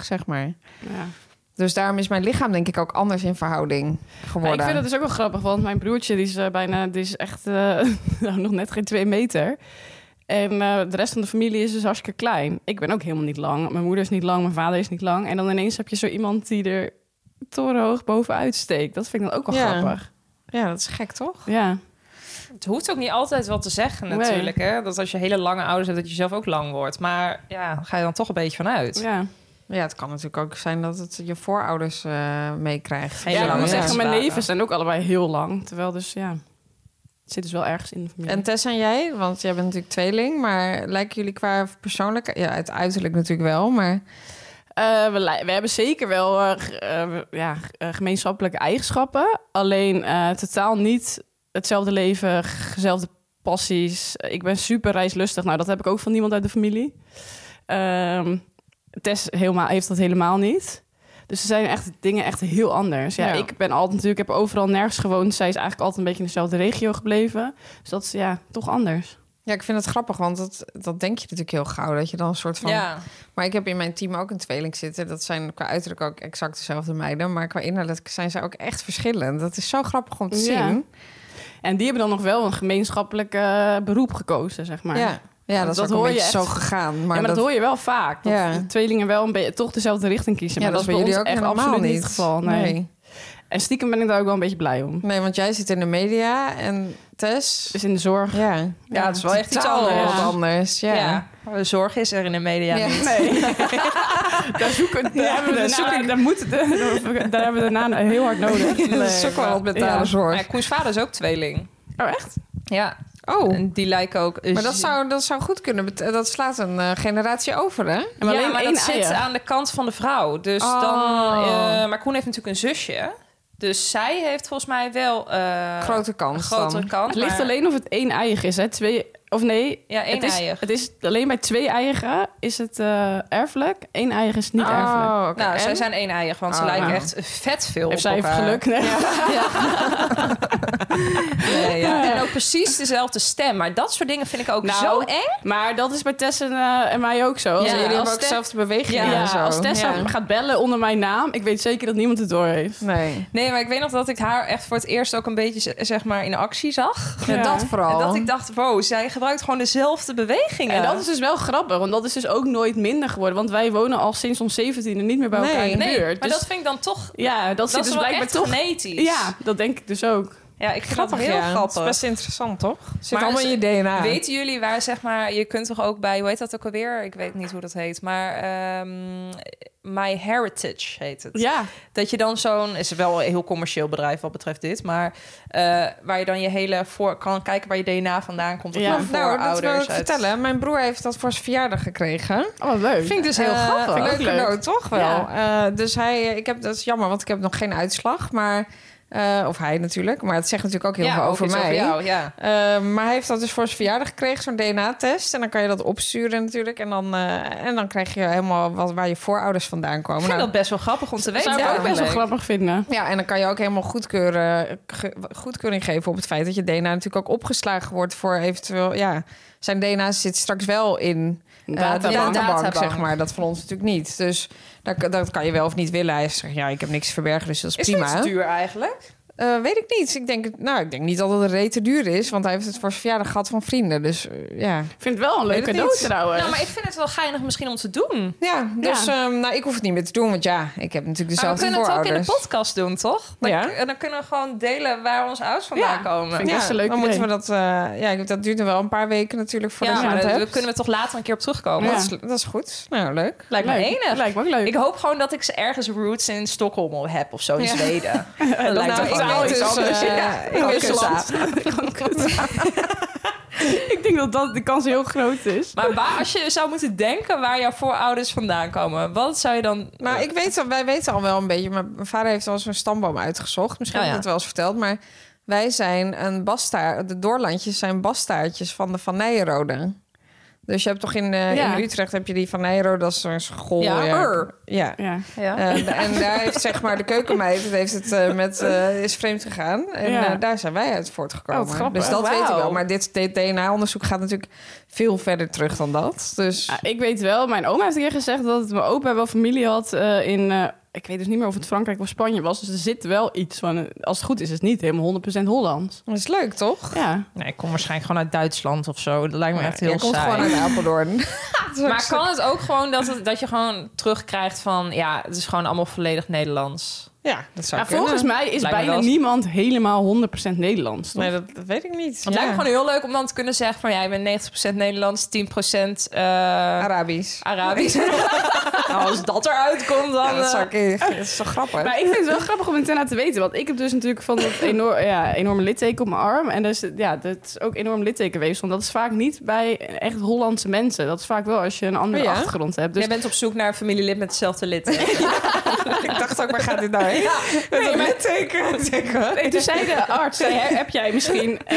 zeg maar. Ja. Dus daarom is mijn lichaam denk ik ook anders in verhouding Maar geworden. ik vind dat dus ook wel grappig, want mijn broertje die is eh, bijna, die is echt eh, nou, nog net geen twee meter. En eh, de rest van de familie is dus hartstikke klein. Ik ben ook helemaal niet lang. Mijn moeder is niet lang, mijn vader is niet lang. En dan ineens heb je zo iemand die er torenhoog bovenuit steekt. Dat vind ik dan ook wel Ja. grappig. Ja, dat is gek toch? Ja. Het hoeft ook niet altijd wat te zeggen Nee. natuurlijk. Hè? Dat als je hele lange ouders hebt, dat je zelf ook lang wordt. Maar ja, ga je dan toch een beetje vanuit. ja. Ja, het kan natuurlijk ook zijn dat het je voorouders eh, meekrijgt. Hele Ja, ik lange moet ja. zeggen, mijn Ja. levens zijn ook allebei heel lang. Terwijl dus, ja, het zit dus wel ergens in de familie. En Tess en jij, want jij bent natuurlijk tweeling, maar lijken jullie qua persoonlijkheid... Ja, het uiterlijk natuurlijk wel, maar... Eh, we, li- we hebben zeker wel eh, g- eh, we- ja, g- eh, gemeenschappelijke eigenschappen. Alleen eh, totaal niet hetzelfde leven, g- dezelfde passies. Ik ben super reislustig. Nou, dat heb ik ook van niemand uit de familie. Ehm Tess helemaal, heeft dat helemaal niet. Dus ze zijn echt dingen echt heel anders. Ja, Ja. Ik ben altijd natuurlijk, ik heb overal nergens gewoond. Zij is eigenlijk altijd een beetje in dezelfde regio gebleven. Dus dat is ja, toch anders. Ja, ik vind het grappig, want dat, dat denk je natuurlijk heel gauw. Dat je dan een soort van... Ja. Maar ik heb in mijn team ook een tweeling zitten. Dat zijn qua uiterlijk ook exact dezelfde meiden. Maar qua innerlijk zijn ze ook echt verschillend. Dat is zo grappig om te Ja. zien. En die hebben dan nog wel een gemeenschappelijk eh, beroep gekozen, zeg maar. Ja, ja dat, Dat is ook hoor een je beetje zo echt. gegaan. Maar, Maar, ja, maar dat, hoor je wel vaak. Dat Ja. de tweelingen wel een beetje toch dezelfde richting kiezen. ja, maar dat is bij ons jullie ook echt helemaal absoluut niet het geval. Nee. nee. En stiekem ben ik daar ook wel een beetje blij om. Nee, want jij zit in de media en Tess... Dus in de zorg. Ja, ja, Ja, het is wel echt iets totaal anders. wat anders. Ja. Ja. De zorg is er in de media Ja. niet. Nee. daar zoeken daar hebben we daar daarna- zoek ik- daar moeten we- daar hebben we daarna heel hard nodig. Dus dat is ook wel wat met Ja. de zorg. Maar ja, Koens vader is ook tweeling. Oh, echt? Ja, Oh, en dus- die lijken ook... maar dat zou, dat zou goed kunnen. bet- Dat slaat een eh, generatie over, hè? En alleen ja, maar één dat eier. zit aan de kant van de vrouw. Dus Oh. dan, eh, maar Koen heeft natuurlijk een zusje. Dus zij heeft volgens mij wel eh, Grote een kans grotere dan. kans. Het ligt maar- alleen of het één eiig is. Hè? Twee, of nee, Ja, één het, is, eier. het is alleen bij twee eieren is het eh, erfelijk. Eén eier is niet erfelijk. Oh, oké. Nou, zij En? zijn één eier, want ze Oh. lijken Nou. echt vet veel Heeft op zij even elkaar. geluk? Nee. Nee, ja. En ook precies dezelfde stem. Maar dat soort dingen vind ik ook Nou, zo eng. Maar dat is bij Tess en, eh, en mij ook zo. Als Ja, jullie ik- hebben als ook Tess- dezelfde bewegingen Ja, en zo. als Tessa Ja. gaat bellen onder mijn naam, ik weet zeker dat niemand het door heeft. Nee, Nee, maar ik weet nog dat ik haar echt voor het eerst ook een beetje z- zeg maar in actie zag. Ja, Ja. dat vooral. En dat ik dacht, wow, zij gebruikt gewoon dezelfde bewegingen. En dat is dus wel grappig, want dat is dus ook nooit minder geworden. Want wij wonen al sinds ons 17e niet meer bij elkaar Nee. in de nee, buurt. maar dus dat vind ik dan toch... ja, dat, Dat, zit is dus wel blijkbaar echt toch. genetisch. Ja, dat denk ik dus ook. ja ik vind grappig, dat heel ja. grappig. Het is best interessant, toch? Zit Maar allemaal ze- in je DNA. Weten jullie waar, zeg maar, je kunt toch ook bij, hoe heet dat ook alweer? Ik weet niet hoe dat heet, maar ehm, My Heritage heet het. Ja, Dat je dan zo'n, is wel een heel commercieel bedrijf wat betreft dit, maar eh, waar je dan je hele voor kan kijken waar je DNA vandaan komt. Of Ja. ja. nou, dat wil ik voorouders. uit- vertellen. Mijn broer heeft dat voor zijn verjaardag gekregen. oh, wat leuk. Vind ik dus heel Eh, grappig. vind ik ook Leuk cadeau, toch wel? Eh, dus hij, eh, ik heb, dat is jammer, want ik heb nog geen uitslag. Maar, eh, of hij natuurlijk. Maar het zegt natuurlijk ook heel Ja, veel ook over iets mij. jou, ja. Eh, maar hij heeft dat dus voor zijn verjaardag gekregen, zo'n DNA-test. En dan kan je dat opsturen natuurlijk. En dan, eh, en dan krijg je helemaal wat, waar je voorouders vandaan Ik komen. vind Nou, dat best wel grappig om te Dat weten. zou ik ook best wel eigenlijk. grappig vinden. ja, en dan kan je ook helemaal goedkeuren, ge- goedkeuring geven op het feit dat je DNA natuurlijk ook opgeslagen wordt voor eventueel. Ja, zijn DNA zit straks wel in eh, de Databank. databank, Databank. zeg maar. Dat van ons natuurlijk niet. Dus daar, dat kan je wel of niet willen. Hij zegt, ja, ik heb niks te verbergen, dus dat is, Is prima. dat duur eigenlijk? Eh, weet ik niet. Ik denk, het- nou, ik denk niet dat het reet te duur is, want hij heeft het voor zijn verjaardag gehad van vrienden. Dus eh, ja. Ik vind het wel een leuk Weet het cadeau niet. trouwens. Nou, maar ik vind het wel geinig misschien om te doen. Ja, dus ehm, nou, ik hoef het niet meer te doen, want ja, ik heb natuurlijk Maar dezelfde we kunnen het ook in de voorouders. podcast doen, toch? Dan, Ja. En dan kunnen we gewoon delen waar onze ouders vandaan Ja, komen. vind ik best een leuk dan idee. moeten we dat. eh, ja, ik- dat duurt nog wel een paar weken natuurlijk voordat ja, je maar dat daar hebt. kunnen Dus we toch later een keer op terugkomen. Ja. Dat, is, dat is goed. Nou, leuk. Lijkt me Leuk. enig. Lijkt me ook leuk. Ik hoop gewoon dat ik ze ergens roots in Stockholm heb of zo in Ja. Zweden. Dat lijkt nou, me ik gewoon weet dus, wel iets anders. eh, Ja. ik Kan weet kut dus- aan. ik denk dat, dat de kans heel groot is. Maar waar, als je zou moeten denken waar jouw voorouders vandaan komen, wat zou je dan... Nou, ik weet, al- wij weten al wel een beetje. Maar mijn vader heeft al zo'n stamboom uitgezocht. Misschien Oh, heb ik ja. het wel eens verteld. Maar Wij zijn een bastaard. De doorlandjes zijn bastaardjes van de Van Nijenrode. Dus je hebt toch in, eh, Ja. in Utrecht heb je die Van Nijenrode, dat is een school. Ja, er. ja. Ja. Ja. Eh, en daar heeft zeg maar de keukenmeid het heeft het, eh, met, eh, is vreemd gegaan. En Ja. eh, daar zijn wij uit Oh, voortgekomen. wat grappig. dus dat Wauw. weet ik wel. Maar dit DNA-onderzoek gaat natuurlijk veel verder terug dan dat. Dus Ah, ik weet wel, mijn oma heeft een keer gezegd dat het mijn opa wel familie had eh, in... eh, ik weet dus niet meer of het Frankrijk of Spanje was. Dus er zit wel iets van... eh, Als het goed is, is het niet helemaal 100% Hollands. dat is leuk, toch? Ja. Nee, ik kom waarschijnlijk gewoon uit Duitsland of zo. Dat lijkt me echt heel Je komt saai. gewoon uit Apeldoorn. Maar kan het ook gewoon dat, het- dat je gewoon terugkrijgt van... ja, het is gewoon allemaal volledig Nederlands. Ja, dat zou Maar kunnen. volgens mij is Lijkt me bijna wel eens- niemand helemaal 100% Nederlands. toch? Nee, dat, dat weet ik niet. Het Ja. lijkt me gewoon heel leuk om dan te kunnen zeggen van... ja, ik ben 90% Nederlands, 10% eh Arabisch. Arabisch. nou, als dat eruit komt, dan... Ja, dat, zou eh, ik, dat is toch grappig? Maar ik vind het wel grappig om het daarna te weten. Want ik heb dus natuurlijk van dat enorm, ja, enorme litteken op mijn arm. En dus, ja, dat is ook enorm littekenweefsel. Want dat is vaak niet bij echt Hollandse mensen. Dat is vaak wel als je een andere Oh ja? achtergrond hebt. Dus Jij bent op zoek naar een familielid met hetzelfde lid. ik dacht ook, waar gaat dit nou heen? Met een litteken. Ik denk, huh? Nee, toen zei de arts, zei, "He- heb jij misschien... eh,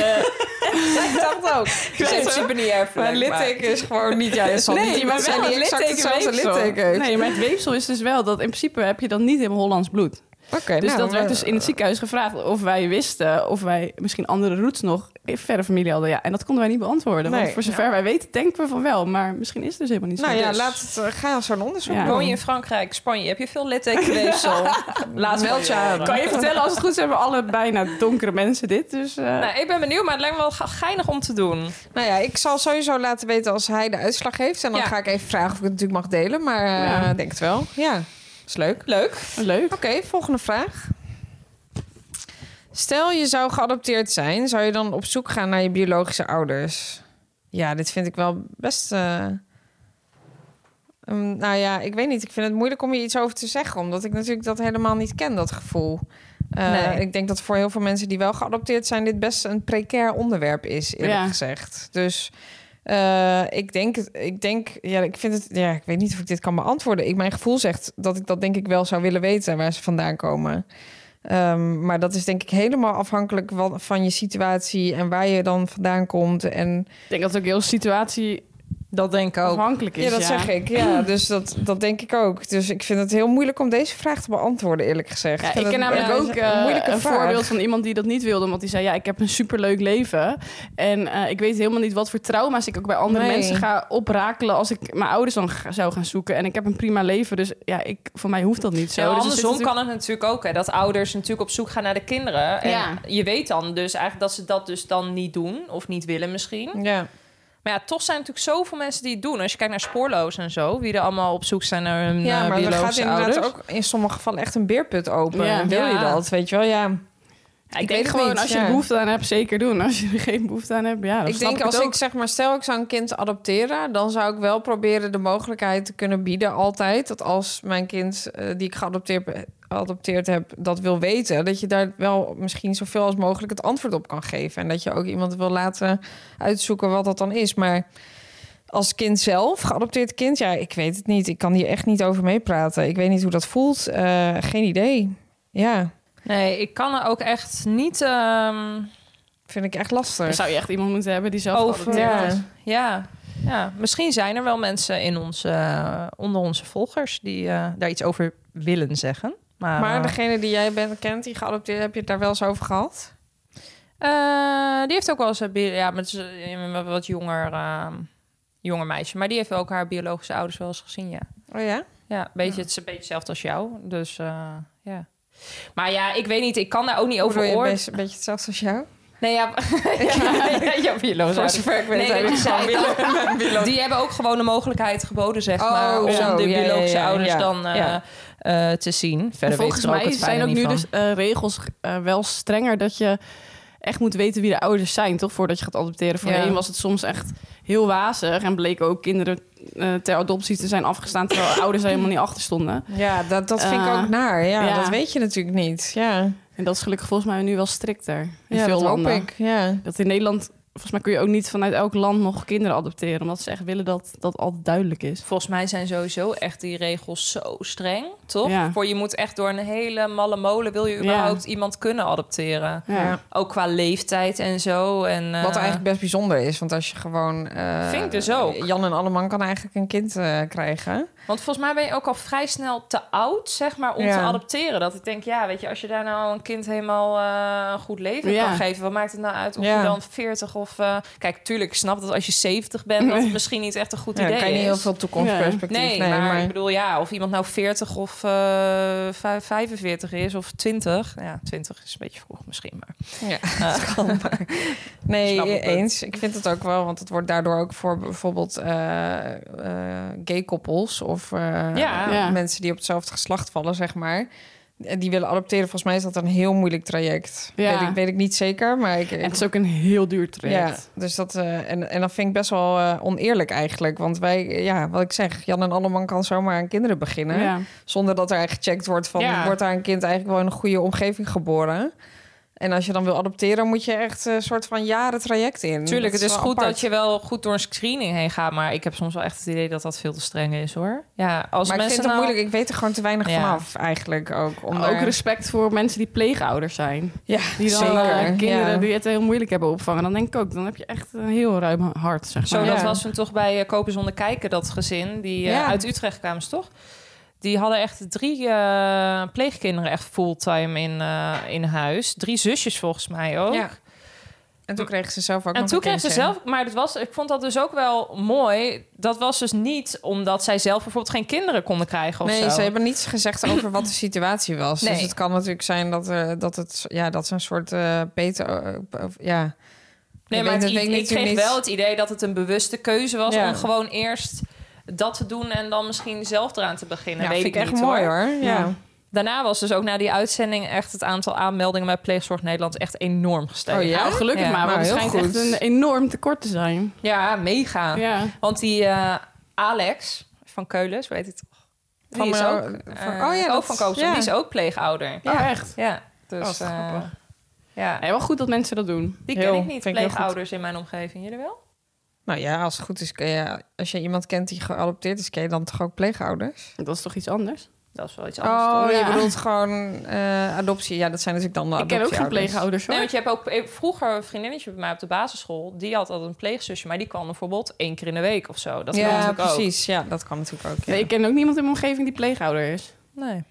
Ik dacht ook. Dus in principe niet erg Maar leuk, maar- litteken is gewoon niet... Ja, het zal niet iemand zijn die exact hetzelfde litteken heeft. Nee, maar het weefsel is dus wel dat in principe heb je dan niet helemaal Hollands bloed. Oké, Dus nou, dat werd maar- dus in het ziekenhuis gevraagd of wij wisten of wij misschien andere roots nog in verre familie hadden. Ja, en dat konden wij niet beantwoorden. Nee. Want voor zover wij weten, denken we van wel. Maar misschien is het dus helemaal niet zo. Nou ja, Dus- laat het, eh, ga je zo'n onderzoek Ja. doen. Woon je in Frankrijk, Spanje? Heb je veel littekenweefsel? Laat wel Meld je aan. Kan je vertellen, als het goed is, hebben we alle bijna donkere mensen dit. Dus, eh, Nou, ik ben benieuwd, maar het lijkt me wel ge- geinig om te doen. Nou ja, ik zal sowieso laten weten als hij de uitslag heeft. En dan Ja. ga ik even vragen of ik het natuurlijk mag delen. Maar eh, Ja. ik denk het wel. Ja, is leuk. Leuk. Leuk. Oké, volgende vraag. Stel je zou geadopteerd zijn, zou je dan op zoek gaan naar je biologische ouders? Ja, dit vind ik wel best. eh, mm, nou ja, ik weet niet. Ik vind het moeilijk om hier iets over te zeggen, omdat ik natuurlijk dat helemaal niet ken, dat gevoel. Eh, Nee. Ik denk dat voor heel veel mensen die wel geadopteerd zijn, dit best een precair onderwerp is, eerlijk Ja. gezegd. Dus eh, ik denk, ik denk, ja, ik vind het, ja, ik weet niet of ik dit kan beantwoorden. Ik, mijn gevoel zegt dat ik dat denk ik wel zou willen weten waar ze vandaan komen. Ehm, maar dat is denk ik helemaal afhankelijk van, van je situatie en waar je dan vandaan komt. En Ik denk dat het ook heel situatie Dat denk ik afhankelijk is. ja, dat zeg ik. Ja, dus dat, dat denk ik ook. Dus ik vind het heel moeilijk om deze vraag te beantwoorden, eerlijk gezegd. Ja, vind ik ken het- namelijk ja, ook het is eh, moeilijke een vraag. voorbeeld van iemand die dat niet wilde. Want die zei, ja, ik heb een superleuk leven. En eh, ik weet helemaal niet wat voor trauma's ik ook bij andere Nee. mensen ga oprakelen... als ik mijn ouders dan ga- zou gaan zoeken. En ik heb een prima leven, dus ja, ik, voor mij hoeft dat niet zo. Ja, maar dus er zit andersom natuurlijk- kan het natuurlijk ook, hè, dat ouders natuurlijk op zoek gaan naar de kinderen. En Ja. je weet dan dus eigenlijk dat ze dat dus dan niet doen, of niet willen misschien. Ja. Maar ja, toch zijn er natuurlijk zoveel mensen die het doen. Als je kijkt naar spoorlozen en zo, wie er allemaal op zoek zijn naar hun ja, eh, maar er biologische gaat inderdaad ook ouders. in sommige gevallen echt een beerput open. Ja. Wil je Ja. dat? Weet je wel, ja. Ja, ik, ik weet denk het gewoon, niet, als je ja. er behoefte aan hebt, zeker doen. Als je er geen behoefte aan hebt, ja, dan Ik snap denk het als ook. ik zeg maar, stel ik zou een kind adopteren, dan zou ik wel proberen de mogelijkheid te kunnen bieden altijd dat als mijn kind eh, die ik geadopteerd be- geadopteerd heb, dat wil weten, dat je daar wel misschien zoveel als mogelijk het antwoord op kan geven en dat je ook iemand wil laten uitzoeken wat dat dan is, maar als kind zelf, geadopteerd kind, ja, ik weet het niet. Ik kan hier echt niet over meepraten. Ik weet niet hoe dat voelt. Eh, geen idee. Ja, Nee, ik kan er ook echt niet ehm, vind ik echt Dan lastig. zou je echt iemand moeten hebben die zelf over. geadopteerd ja. is. Ja, ja, misschien zijn er wel mensen in onze, eh, onder onze volgers die eh, daar iets over willen zeggen. Maar, Maar eh, degene die jij bent, kent, die geadopteerd, heb je het daar wel eens over gehad? eh, die heeft ook wel eens een bi- ja, met een wat jonger, eh, jonger meisje. Maar die heeft ook haar biologische ouders wel eens gezien, ja. Oh ja? Ja, een beetje, het is een beetje hetzelfde als jou. Dus eh, ja. Maar ja, ik weet niet, ik kan daar ook niet over Bedoel je een oordelen. beetje, een beetje hetzelfde als jou? Nee, ja, ja, ja, ja, biologische Voor ouders. zover ik weet Nee, heb dat ik zei gewoon ik willen. Die hebben ook gewoon de mogelijkheid geboden, zeg Oh, maar, om zo, de ja, ja, biologische ja, ouders ja. dan eh, Ja. eh, te zien. Verder Volgens weten ze mij ook het zijn fijne ook niet nu van. dus eh, regels eh, wel strenger dat je echt moet weten wie de ouders zijn, toch? Voordat je gaat adopteren. Voorheen Ja. was het soms echt heel wazig en bleken ook kinderen eh, ter adoptie te zijn afgestaan terwijl ouders er helemaal niet achter stonden. Ja, dat, dat vind ik Eh, ook naar. Ah, Ja, ja. dat weet je natuurlijk niet. Ja, En dat is gelukkig volgens mij nu wel strikter in ja veel dat hoop landen. ik. Ja. Dat in Nederland volgens mij kun je ook niet vanuit elk land nog kinderen adopteren. Omdat ze echt willen dat dat altijd duidelijk is. Volgens mij zijn sowieso echt die regels zo streng, toch? Ja. Voor je moet echt door een hele malle molen... wil je Ja. überhaupt iemand kunnen adopteren. Ja. Ook qua leeftijd en zo. En, eh, Wat eigenlijk best bijzonder is, want als je gewoon... eh, Vind ik dus ook. Jan en Alleman kan eigenlijk een kind eh, krijgen. Want volgens mij ben je ook al vrij snel te oud, zeg maar, om Ja. te adopteren. Dat ik denk, ja, weet je, als je daar nou een kind helemaal eh, een goed leven Ja. kan geven... wat maakt het nou uit of Ja. je dan 40 of... eh, Kijk, tuurlijk, ik snap dat als je 70 bent... dat het misschien niet echt een goed Ja, idee dan kan je niet heel is. veel toekomstperspectief Nee, nemen. maar, ik bedoel, ja, of iemand nou 40 of eh, vijf- 45 is of 20. Ja, 20 is een beetje vroeg misschien, maar... Ja, Eh. dat kan maar. Snap Nee, het. eens. Ik vind het ook wel, want het wordt daardoor ook voor bijvoorbeeld eh, eh, gay-koppels of eh, Ja. Ja. mensen die op hetzelfde geslacht vallen, zeg maar. En Die willen adopteren. Volgens mij is dat een heel moeilijk traject. Ja. Weet, ik, weet ik niet zeker, maar ik. En het is ook een heel duur ja, traject. dus dat, eh, en, en dat vind ik best wel eh, oneerlijk eigenlijk. Want wij, ja, wat ik zeg, Jan en Alleman kan zomaar aan kinderen beginnen. Ja. Zonder dat er eigenlijk gecheckt wordt van... Ja. wordt daar een kind eigenlijk wel in een goede omgeving geboren? En als je dan wil adopteren, moet je echt eh, een soort van jaren traject in. Tuurlijk, Dat het is wel goed apart. dat je wel goed door een screening heen gaat... maar ik heb soms wel echt het idee dat dat veel te streng is, hoor. Ja, als maar ik vind mensen het nou... moeilijk. Ik weet er gewoon te weinig Ja. vanaf eigenlijk ook. Om Maar daar- Ook respect voor mensen die pleegouders zijn. Ja, Die dan zeker. eh, kinderen Ja. die het heel moeilijk hebben opvangen. Dan denk ik ook, dan heb je echt een heel ruim hart, zeg Zo, maar. Ja. dat was toen toch bij eh, Kopen Zonder Kijken, dat gezin. Die eh, Ja. uit Utrecht kwamen ze toch? Die hadden echt drie eh, pleegkinderen echt fulltime in, eh, in huis. Drie zusjes volgens mij ook. Ja. En toen kregen ze zelf ook En nog toen een kreeg ze kindje. zelf, maar dat was, ik vond dat dus ook wel mooi. Dat was dus niet omdat zij zelf bijvoorbeeld geen kinderen konden krijgen of Nee, zo. ze hebben niets gezegd over wat de situatie was. Dus Nee. het kan natuurlijk zijn dat, eh, dat, het, ja, dat ze een soort eh beter... eh, of- ja. nee, Ik maar weet- het dat i- weet ik ik kreeg natuurlijk niet. wel het idee dat het een bewuste keuze was Ja. om gewoon eerst dat te doen en dan misschien zelf eraan te beginnen. Ja, weet vind ik ik echt niet, mooi hoor. Ja. Ja. Daarna was dus ook na die uitzending echt het aantal aanmeldingen bij Pleegzorg Nederland echt enorm gestegen. Oh ja? Nou, gelukkig Ja, maar, want nou, het heel schijnt goed. echt een enorm tekort te zijn. Ja, mega. Ja. Want die eh, Alex van Keulen, zo weet het toch? Die Van is mijn- ook, van- eh, oh ja, dat- ook van Koopzorg. ja. Die is ook pleegouder. Ja, echt. Ja, dus... Oh, wat eh, grappig. ja, Nee, wel goed dat mensen dat doen. die Heel, ken ik niet, vind ik heel goed. pleegouders in mijn omgeving. Jullie wel? Nou ja, als het goed is, kun je, als je iemand kent die geadopteerd is, ken je dan toch ook pleegouders? Dat is toch iets anders? Dat is wel iets anders, Oh, toch? je ja. bedoelt gewoon eh, adoptie. Ja, dat zijn natuurlijk dan de Ik ken ook geen adoptieouders. pleegouders, hoor. Nee, want je hebt ook eh, vroeger een vriendinnetje bij mij op de basisschool. Die had altijd een pleegzusje, maar die kwam bijvoorbeeld één keer in de week of zo. Dat kan ja, natuurlijk ook. precies. Ja, dat kan natuurlijk ook. Ja. Nee, ik ken ook niemand in mijn omgeving die pleeghouder is. Nee.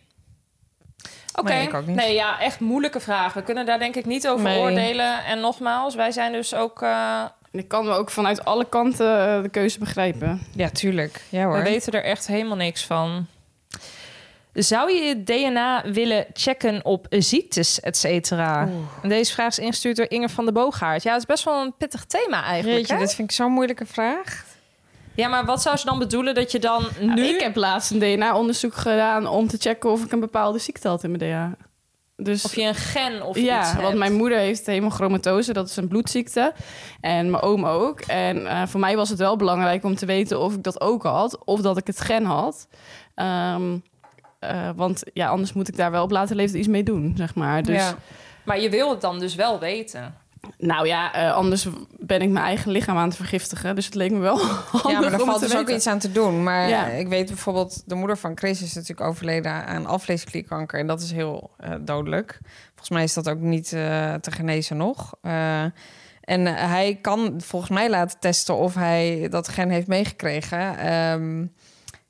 Oké, Nee, ik ook niet. nee, ja, echt moeilijke vragen. We kunnen daar denk ik niet over Nee. oordelen. En nogmaals, wij zijn dus ook... eh, En ik kan me ook vanuit alle kanten eh, de keuze begrijpen. Ja, tuurlijk. Ja we hoor. weten er echt helemaal niks van. Zou je je DNA willen checken op ziektes, et cetera? En Deze vraag is ingestuurd door Inge van de Boogaard. Ja, het is best wel een pittig thema eigenlijk. Jeetje, hè? dit vind ik zo'n moeilijke vraag. Ja, maar wat zou ze dan bedoelen dat je dan Nou, nu... Nou, Ik heb laatst een DNA-onderzoek gedaan om te checken of ik een bepaalde ziekte had in mijn DNA. Dus Of je een gen of ja, iets want hebt. mijn moeder heeft hemochromatose, dat is een bloedziekte. En mijn oom ook. En eh, voor mij was het wel belangrijk om te weten of ik dat ook had, of dat ik het gen had. Ehm, eh, want ja, anders moet ik daar wel op later leeftijd iets mee doen, zeg maar. Dus, Ja. Maar je wil het dan dus wel weten. Nou ja, eh, anders ben ik mijn eigen lichaam aan het vergiftigen. Dus het leek me wel handig ja, maar daar om valt het dus te ook weten. iets aan te doen. Maar Ja. ik weet bijvoorbeeld, de moeder van Chris is natuurlijk overleden aan afleesklierkanker. En dat is heel eh, dodelijk. Volgens mij is dat ook niet eh, te genezen nog. Eh, en eh, hij kan volgens mij laten testen of hij dat gen heeft meegekregen. Ehm,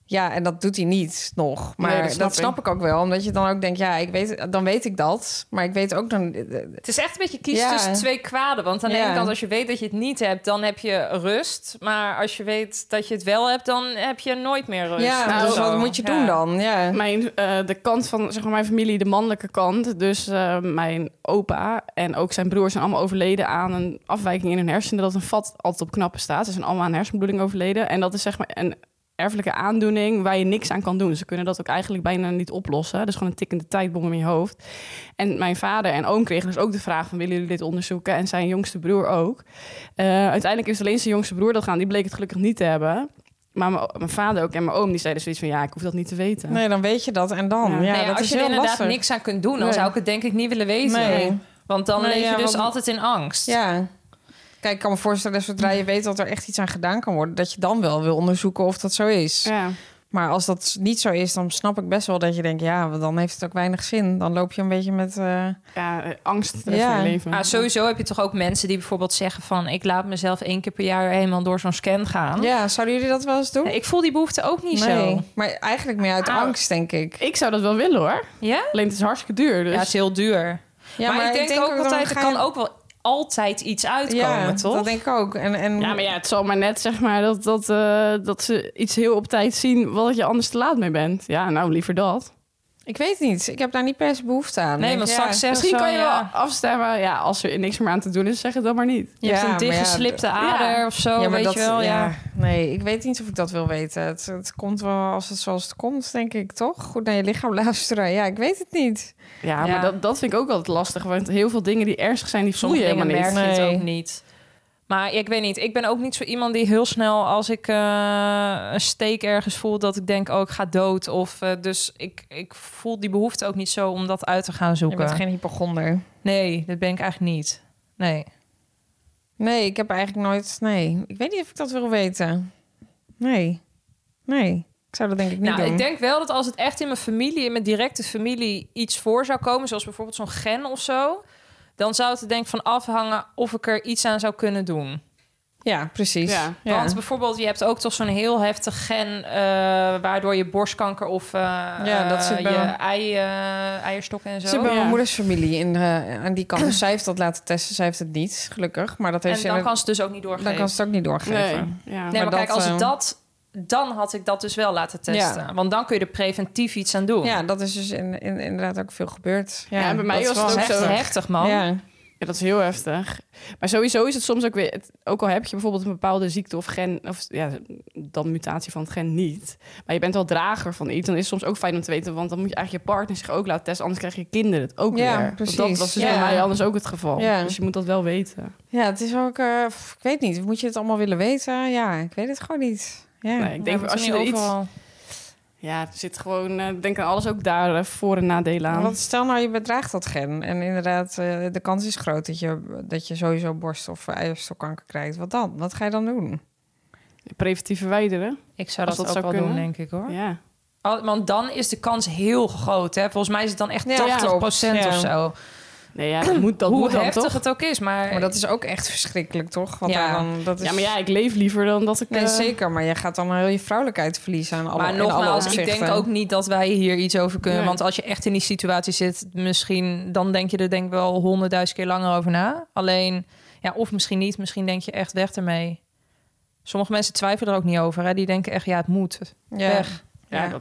ja, en dat doet hij niet nog. Maar Nee, dat dat, snap snap, ik. ik ook wel. Omdat je dan ook denkt, ja, ik weet, dan weet ik dat. Maar ik weet ook dan... eh, Het is echt een beetje kiezen Ja. tussen twee kwaden. Want aan de Ja. ene kant, als je weet dat je het niet hebt, dan heb je rust. Maar als je weet dat je het wel hebt, dan heb je nooit meer Oh, rust. ja, Of dus zo. wat moet je Ja. doen dan? Ja. Mijn, eh, de kant van zeg maar, mijn familie, de mannelijke kant. Dus eh, mijn opa en ook zijn broer zijn allemaal overleden aan een afwijking in hun hersenen. Dat een vat altijd op knappen staat. Ze zijn allemaal aan hersenbloeding overleden. En dat is zeg maar een erfelijke aandoening waar je niks aan kan doen. Ze kunnen dat ook eigenlijk bijna niet oplossen. Dat is gewoon een tikkende tijdbom in je hoofd. En mijn vader en oom kregen dus ook de vraag van... willen jullie dit onderzoeken? En zijn jongste broer ook. Eh, uiteindelijk is alleen zijn jongste broer dat gaan. Die bleek het gelukkig niet te hebben. Maar mijn, mijn vader ook en mijn oom die zeiden zoiets van... ja, ik hoef dat niet te weten. Nee, dan weet je dat. En dan? Ja, Ja. Nou ja, dat als is je er heel inderdaad lastig. niks aan kunt doen, dan Nee. zou ik het denk ik niet willen weten. Nee. Want dan Nee, leef je ja, dus want- altijd in angst. Ja. Kijk, ik kan me voorstellen, zodra je weet dat er echt iets aan gedaan kan worden, dat je dan wel wil onderzoeken of dat zo is. Ja. Maar als dat niet zo is, dan snap ik best wel dat je denkt, ja, want dan heeft het ook weinig zin. Dan loop je een beetje met. eh, ja, eh, angst de rest Ja. van je leven. Ah, sowieso heb je toch ook mensen die bijvoorbeeld zeggen van... ik laat mezelf één keer per jaar helemaal door zo'n scan gaan. Ja, zouden jullie dat wel eens doen? Ja, Ik voel die behoefte ook niet zo. Nou, Maar eigenlijk meer uit Au. angst, denk ik. Ik zou dat wel willen hoor. Ja? Alleen het is hartstikke duur. Dus. Ja, het is heel duur. Ja, maar, ik denk, ook dan altijd, er ga kan je- ook wel altijd iets uitkomen, ja, toch? Dat denk ik ook. En, en... Ja, maar ja, het zal maar net zeg maar dat, dat, eh, dat ze iets heel op tijd zien wat je anders te laat mee bent. Ja, nou liever dat. Ik weet niet. Ik heb daar niet per se behoefte aan. Nee, Ik want denk, straks zeggen Misschien ze kan zo, je ja, wel afstemmen. Ja, als er niks meer aan te doen is, zeg het dan maar niet. Je hebt Ja, een maar ja, dichtgeslipte ader of zo, ja, maar Oh, weet dat, je wel. Ja. Nee, ik weet niet of ik dat wil weten. Het, het komt wel als het zoals het komt, denk ik, toch? Goed naar je lichaam luisteren. Ja, ik weet het niet. Ja, Ja. maar dat, dat vind ik ook altijd lastig. Want heel veel dingen die ernstig zijn, die voel je Sommige dingen helemaal niet. merk je het Nee. ook niet. Maar ja, ik weet niet, ik ben ook niet zo iemand die heel snel als ik eh, een steek ergens voel... dat ik denk, oh, ik ga dood. Of, eh, dus ik, ik voel die behoefte ook niet zo om dat uit te gaan Je zoeken. bent geen hypochonder. Nee, dat ben ik eigenlijk niet. Nee. Nee, ik heb eigenlijk nooit... Nee, ik weet niet of ik dat wil weten. Nee. Nee. Ik zou dat denk ik niet Nou, doen. ik denk wel dat als het echt in mijn familie, in mijn directe familie, iets voor zou komen, zoals bijvoorbeeld zo'n gen of zo, dan zou het er denk ik van afhangen of ik er iets aan zou kunnen doen. Ja, precies. Ja, Want bijvoorbeeld, je hebt ook toch zo'n heel heftig gen, eh, waardoor je borstkanker of eh, Ja, dat eh, zit bij je mijn- ei, eh, eierstokken en Ze zo. hebben Ja. mijn moeders familie in, eh, aan die kant. Dus zij heeft dat laten testen. Zij heeft het niet, gelukkig. Maar dat heeft En ze dan in- kan ze het dus ook niet doorgeven. dan kan ze het ook niet Nee, doorgeven. ja. nee, maar, maar kijk, dat, als het eh, dat, dan had ik dat dus wel laten testen. Want dan kun je er preventief iets aan doen. Ja, dat is dus in, in, inderdaad ook veel gebeurd. Ja, Ja, en bij mij dat was is het wel ook Heftig, zo. heftig man. Ja. Ja, dat is heel heftig. Maar sowieso is het soms ook weer... het- ook al heb je bijvoorbeeld een bepaalde ziekte of gen... of ja, dan mutatie van het gen niet. Maar je bent wel drager van iets. Dan is het soms ook fijn om te weten... want dan moet je eigenlijk je partner zich ook laten testen... anders krijg je kinderen het ook Ja, weer. Want Dat precies. was dus Ja. bij mij anders ook het geval. Ja. Dus je moet dat wel weten. ja, het is ook... eh, pff, ik weet niet, moet je het allemaal willen weten? Ja, ik weet het gewoon niet. Ja, Nee, ik denk maar als je toen er iets... overal- Ja, er zit gewoon... eh, denk aan alles ook daar eh, voor- en nadelen aan. Want stel nou, je bedraagt dat gen. En inderdaad, eh, de kans is groot dat je, dat je sowieso borst- of eierstokkanker krijgt. Wat dan? Wat ga je dan doen? Preventief verwijderen. Ik zou dat, Als dat ook zou wel doen, kunnen. denk ik hoor. Ja. Al- Want dan is de kans heel groot. Hè? Volgens mij is het dan echt Ja, 80% klopt. Ja. of zo. Nee, ja, dat moet, dat Hoe moet dan heftig toch? het ook is. Maar, Maar dat is ook echt verschrikkelijk, toch? Want Ja. daar dan, dat is... Ja, maar ja, ik leef liever dan dat ik... Nee, eh, zeker. Maar je gaat dan heel je vrouwelijkheid verliezen aan alle maar in alle nogmaals, ik denk opzichten. ook niet dat wij hier iets over kunnen. Nee. Want als je echt in die situatie zit, misschien dan denk je er denk ik wel honderdduizend keer langer over na. Alleen, ja, of misschien niet. Misschien denk je echt weg ermee. Sommige mensen twijfelen er ook niet over. Hè? Die denken echt, ja, het moet. Ja. Weg. Ja, Ja. dat...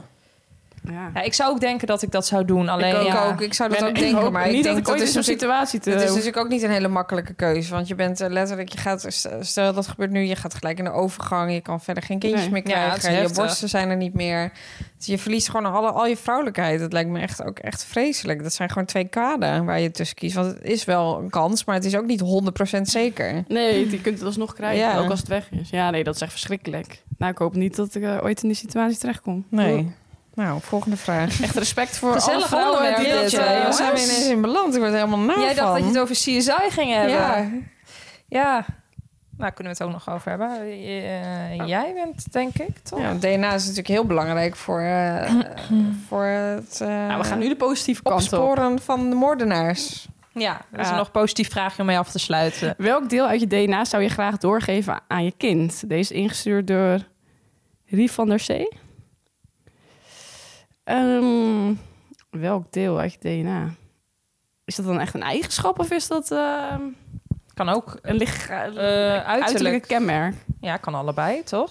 Ja. Ja, ik zou ook denken dat ik dat zou doen. Alleen, ik ook, ja, ook. Ik zou dat Ben- ook ik denken, hoop maar niet ik dat ik denk ooit dat in is zo'n natuurlijk- situatie te... Het eh, is natuurlijk ook niet een hele makkelijke keuze. Want je bent eh, letterlijk, je gaat, stel dat gebeurt nu, je gaat gelijk in de overgang. Je kan verder geen kindjes Nee. meer Ja, het is krijgen. je heftig. borsten zijn er niet meer. Dus je verliest gewoon alle, al je vrouwelijkheid. Dat lijkt me echt ook echt vreselijk. Dat zijn gewoon twee kaden waar je tussen kiest. Want het is wel een kans, maar het is ook niet 100% zeker. Nee, je kunt het alsnog krijgen, Ja. ook als het weg is. Ja, nee, dat is echt verschrikkelijk. Nou, ik hoop niet dat ik eh, ooit in die situatie terechtkom. Nee. Nou, volgende vraag. Echt respect voor Gezellig alle vrouwen die onderwerp dat... dit, eh, hè, we jongens. zijn we ineens in beland. Ik word er helemaal nauw Jij dacht dat je het over CSI ging hebben. Ja, Ja, nou kunnen we het ook nog over hebben. Eh, jij bent, denk ik, toch? Ja, want DNA is natuurlijk heel belangrijk voor, eh, voor het eh, nou, we gaan nu de positieve kant op. opsporen van de moordenaars. Ja, dat is Ja. een nog positief vraagje om mee af te sluiten. Welk deel uit je DNA zou je graag doorgeven aan je kind? Deze is ingestuurd door Rie van der Zee. Ehm, welk deel uit je DNA? Is dat dan echt een eigenschap of is dat ehm, Kan ook. een lichaam? eh, uiterlijk. uiterlijke kenmerk. Ja, kan allebei, toch?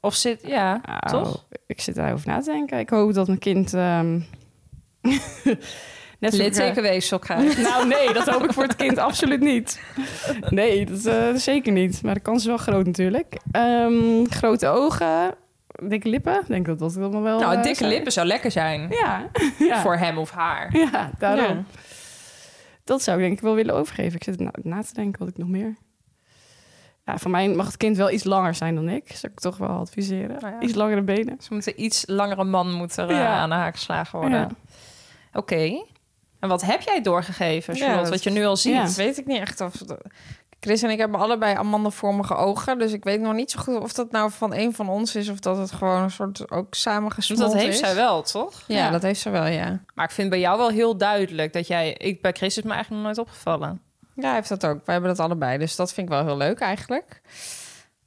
Of zit, ja, Nou, toch? Ik zit daarover na te denken. Ik hoop dat mijn kind... ehm net zo- Littekenweefsel krijgt. Nou nee, dat hoop ik voor het kind absoluut niet. Nee, dat eh, zeker niet. Maar de kans is wel groot natuurlijk. Ehm, grote ogen, dikke lippen. Ik denk dat dat allemaal wel... Nou, eh, dikke zijn. lippen zou lekker zijn Ja, ja. voor hem of haar. ja daarom. Dat zou ik denk ik wel willen overgeven. Ik zit na, na te denken wat ik nog meer... Ja, voor mij mag het kind wel iets langer zijn dan ik. Zou ik toch wel adviseren. Nou ja. Iets langere benen. Ze moeten iets langere man moet er eh, Ja. aan de haak geslagen worden. Ja. Oké. En wat heb jij doorgegeven, Charlotte? dat- wat je nu al ziet. Ja. Dat weet ik niet echt of... Chris en ik hebben allebei amandelvormige ogen. Dus ik weet nog niet zo goed of dat nou van een van ons is... of dat het gewoon een soort ook Dus samengesmolten dat is. heeft zij wel, toch? Ja, dat heeft ze wel, ja. Maar ik vind bij jou wel heel duidelijk dat jij... Ik, bij Chris is me eigenlijk nog nooit opgevallen. Ja, hij heeft dat ook. Wij hebben dat allebei. Dus dat vind ik wel heel leuk eigenlijk.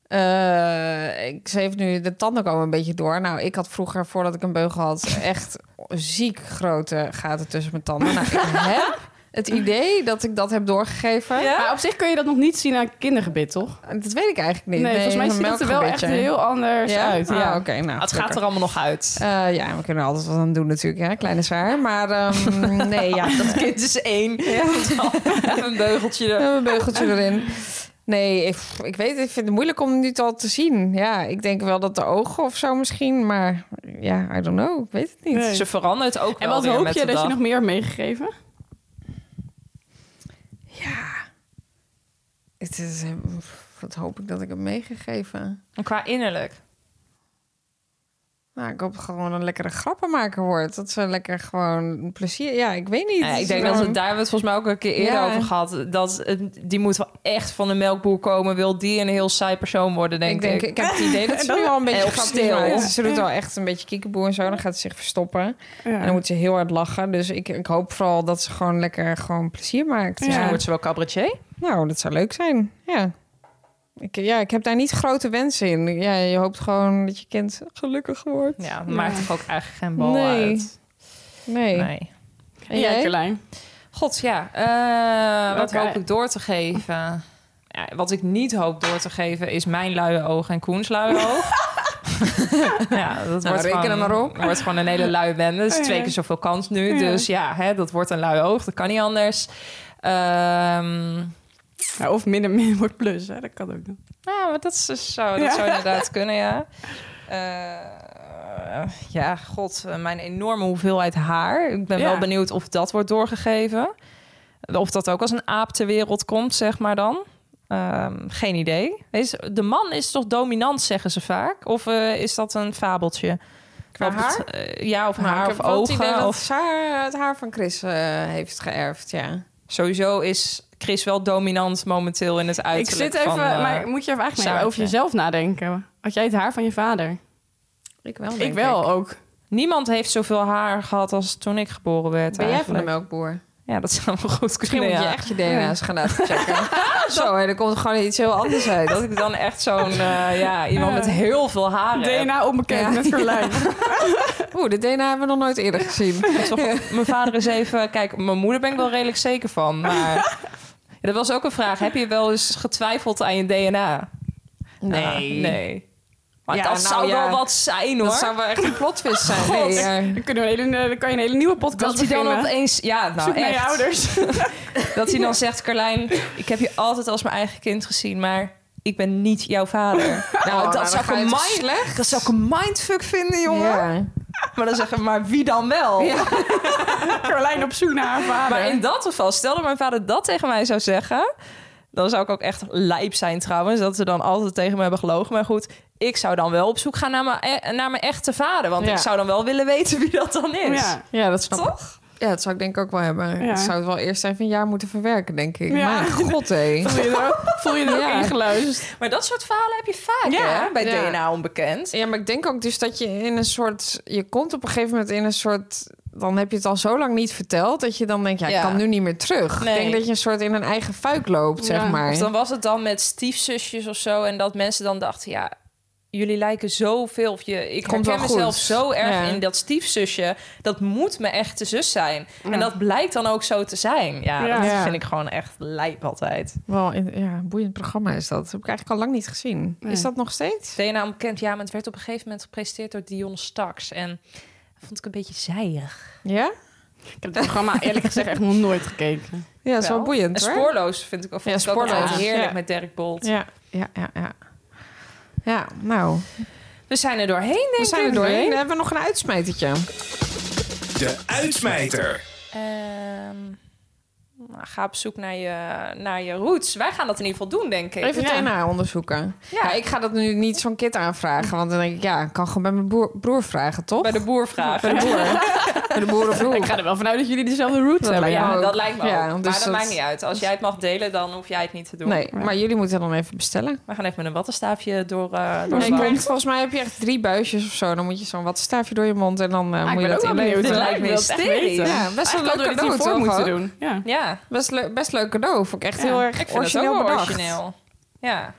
Eh, ik, ze heeft nu de tanden komen een beetje door. Nou, ik had vroeger, voordat ik een beugel had, echt ziek grote gaten tussen mijn tanden. Nou, ik heb het idee dat ik dat heb doorgegeven. Maar op zich kun je dat nog niet zien aan kindergebit, toch? Dat weet ik eigenlijk niet. Nee, volgens mij een ziet het er wel echt melkgebitje. heel anders ja? uit. Ah, Ja. oké. nou, het gaat gelukkig. er allemaal nog uit. Eh, ja, we kunnen er altijd wat aan doen natuurlijk, hè? kleine zwaar. Maar ehm, nee, ja, dat, Kind is één. Even een beugeltje. We er- hebben een beugeltje erin. Nee, ik, ik weet, ik vind het moeilijk om nu al te zien. Ja, ik denk wel dat de ogen of zo misschien, maar ja, I don't know. Ik weet het niet. Ze verandert ook En wel wat weer hoop met je de dat dag. je nog meer hebt meegegeven? Het is, eh, wat hoop ik dat ik heb meegegeven? En Qua innerlijk. Nou, ik hoop gewoon een lekkere grappenmaker wordt. Dat ze lekker gewoon plezier... Ja, ik weet niet. Nou ja, ik denk dat we Gewoon- daar hebben we het volgens mij ook een keer eerder Ja. over gehad. Dat het- die moet wel echt van de melkboer komen. Wil die een heel saai persoon worden, denk Ik, ik. denk, ik heb het idee dat ze nu al een beetje Of grappig stil. maakt. Ze doet al echt een beetje kiekeboer en zo. Dan gaat ze zich verstoppen. En dan moet ze heel hard lachen. Dus ik, ik hoop vooral dat ze gewoon lekker gewoon plezier maakt. Dus dan Ja. wordt ze wel cabaretier. Nou, dat zou leuk zijn. Ja. Ik, ja, ik heb daar niet grote wensen in. Ja, je hoopt gewoon dat je kind gelukkig wordt. Ja, dat maakt toch ook eigenlijk geen bal Nee. uit. Nee. Nee. En ja, jij? Carlijn. God, ja. eh, wat Welke- hoop ik door te geven? Ja, wat ik niet hoop door te geven is mijn luie oog en Koens luie oog. ja, dat wordt, Nou, reken gewoon, er maar op. wordt gewoon een hele lui bende. Het is Ja. twee keer zoveel kans nu. Ja. Dus ja, hè, dat wordt een lui oog. Dat kan niet anders. Ehm Ja, of minder min wordt plus, hè? dat kan ook nog. ja, maar dat, is dus zo, dat Ja. zou inderdaad kunnen, ja. Eh, ja, god, eh, mijn enorme hoeveelheid haar. Ik ben Ja. wel benieuwd of dat wordt doorgegeven. Of dat ook als een aap ter wereld komt, zeg maar dan. Ehm, geen idee. Is, de man is toch dominant, zeggen ze vaak? Of eh, is dat een fabeltje? Qua Of dat- haar? eh, ja, of Nou, ik haar heb of wel het idee ogen. dat Of... ze haar- het haar van Chris eh, heeft geërfd, ja. Sowieso is Chris wel dominant momenteel in het Ik uiterlijk. zit even, van, eh, maar moet je even eigenlijk Saartje. maar over jezelf nadenken. Had jij het haar van je vader? Ik wel, ik wel ook. Niemand heeft zoveel haar gehad als toen ik geboren werd. Ben jij van de eigenlijk. melkboer? Ja, dat zou wel goed Misschien kunnen. moet ja. je echt je DNA's gaan laten checken. zo, en er komt gewoon iets heel anders uit. Dat ik dan echt zo'n eh, ja, iemand met heel veel haar heb. DNA onbekend Ja. met Carlijn. Oeh, de DNA hebben we nog nooit eerder gezien. Toch, mijn vader is even... Kijk, mijn moeder ben ik wel redelijk zeker van. Maar ja, dat was ook een vraag. Heb je wel eens getwijfeld aan je DNA? Ah, nee. Maar Ja, dat nou zou ja. wel wat zijn, hoor. Dat zou wel echt een plotwist zijn. God. Nee, eh, Dan, kunnen we een hele, dan kan je een hele nieuwe podcast Dat hij dan beginnen. opeens... Ja, nou Zoek naar je echt. ouders. Dat hij dan zegt, Carlijn, ik heb je altijd als mijn eigen kind gezien, maar ik ben niet jouw vader. Oh, Nou, nou, dan dat, zou ik ga je een het mind, dat zou ik een mindfuck vinden, jongen. ja. Maar dan zeggen, maar wie dan wel? Carlijn op zoek naar haar vader. Maar in dat geval, stel dat mijn vader dat tegen mij zou zeggen, dan zou ik ook echt lijp zijn trouwens, dat ze dan altijd tegen me hebben gelogen. Maar goed, ik zou dan wel op zoek gaan naar mijn, e- naar mijn echte vader, want Ja. ik zou dan wel willen weten wie dat dan is. ja. Ja, dat snap ik. Toch? Ja, dat zou ik denk ik ook wel hebben. Ja. Ik zou het wel eerst even een jaar moeten verwerken, denk ik. Ja. Mijn god, hé. Voel je er ook, voel je er ook Ja. ingeluisterd? Maar dat soort verhalen heb je vaak Ja, hè? bij ja. DNA onbekend. Ja, maar ik denk ook dus dat je in een soort... Je komt op een gegeven moment in een soort... Dan heb je het al zo lang niet verteld... dat je dan denkt, ja, ik Ja. kan nu niet meer terug. Nee. Ik denk dat je een soort in een eigen fuik loopt, zeg Ja. maar. Of dan was het dan met stiefzusjes of zo. En dat mensen dan dachten, ja, jullie lijken zoveel. Of je, ik Komt wel herken mezelf goed. zo erg Ja. in dat stiefzusje. Dat moet mijn echte zus zijn. En dat blijkt dan ook zo te zijn. Ja, Ja. dat Ja. vind ik gewoon echt lijp altijd. Wel, in- ja, een boeiend programma is dat. Dat heb ik eigenlijk al lang niet gezien. Nee. Is dat nog steeds? DNA onbekend, ja, maar het werd op een gegeven moment gepresenteerd door Dion Staks. En dat vond ik een beetje zijig. Ja? Ik heb het programma eerlijk gezegd echt nog nooit gekeken. Ja, dat is wel boeiend, En hoor. spoorloos vind ik, of Ja, vond ik ook altijd Spoorloos, heerlijk ja. met Dirk Bolt. Ja, ja, ja, ja. Ja, nou, We zijn er doorheen, denk ik. we zijn er doorheen. Dan hebben we nog een uitsmijtertje. De uitsmijter. Ehm, nou, ga op zoek naar je, naar je roots. Wij gaan dat in ieder geval doen, denk ik. Even DNA onderzoeken. Ja. Ja. ik ga dat nu niet zo'n kit aanvragen. Want dan denk ik, ja, ik kan gewoon bij mijn broer, broer vragen, toch? Bij de boer vragen. Bij de boer. bij de Ah, boerenvloer. Ik ga er wel vanuit dat jullie dezelfde route Dat hebben. lijkt me Ja. ook. Ja, dat lijkt me Ja, dus ook. maar dat, dat- maakt niet uit. Als jij het mag delen, dan hoef jij het niet te doen. Nee, maar jullie moeten dan even bestellen. We gaan even met een wattenstaafje door, eh door Nee, de klopt. wand. volgens mij heb je echt drie buisjes of zo. Dan moet je zo'n wattenstaafje door je mond en dan eh, Ah, ik moet je ben dat ook wel benieuwd. inleveren. Dit lijkt hoor. me Ik wil het echt hysterisch. weten. Ja, Ja, best wel een Eigenlijk leuk hadden we dit cadeau, hiervoor toch? moeten ook? doen. Ja. Ja, Best, leuk- best leuk cadeau. Vond ik echt Ja, heel ik erg vind origineel het ook wel bedacht. origineel. Ja.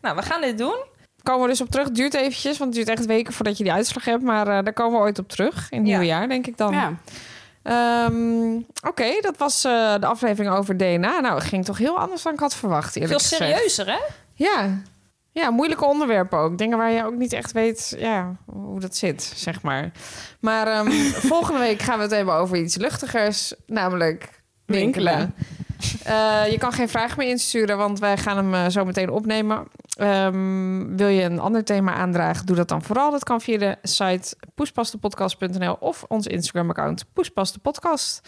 Nou, we gaan dit doen. Komen we dus op terug. Het duurt eventjes, want het duurt echt weken voordat je die uitslag hebt. Maar eh, daar komen we ooit op terug. In het Ja. nieuwe jaar, denk ik dan. Ja. Ehm, Oké, dat was eh, de aflevering over DNA. Nou, het ging toch heel anders dan ik had verwacht, Veel eerlijk gezegd. serieuzer, hè? Ja. Ja, moeilijke onderwerpen ook. Dingen waar je ook niet echt weet ja, hoe dat zit, zeg maar. Maar ehm, volgende week gaan we het hebben over iets luchtigers, namelijk winkelen. Winkelen. Eh, je kan geen vraag meer insturen, want wij gaan hem eh, zo meteen opnemen. Ehm, wil je een ander thema aandragen, doe dat dan vooral. Dat kan via de site poespastepodcast.nl of ons Instagram-account poespastepodcast.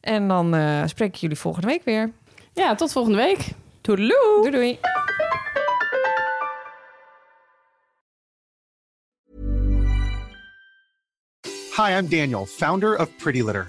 En dan eh spreek ik jullie volgende week weer. ja, tot volgende week. Toedeloe! Doei doei! Hi, I'm Daniel, founder of Pretty Litter.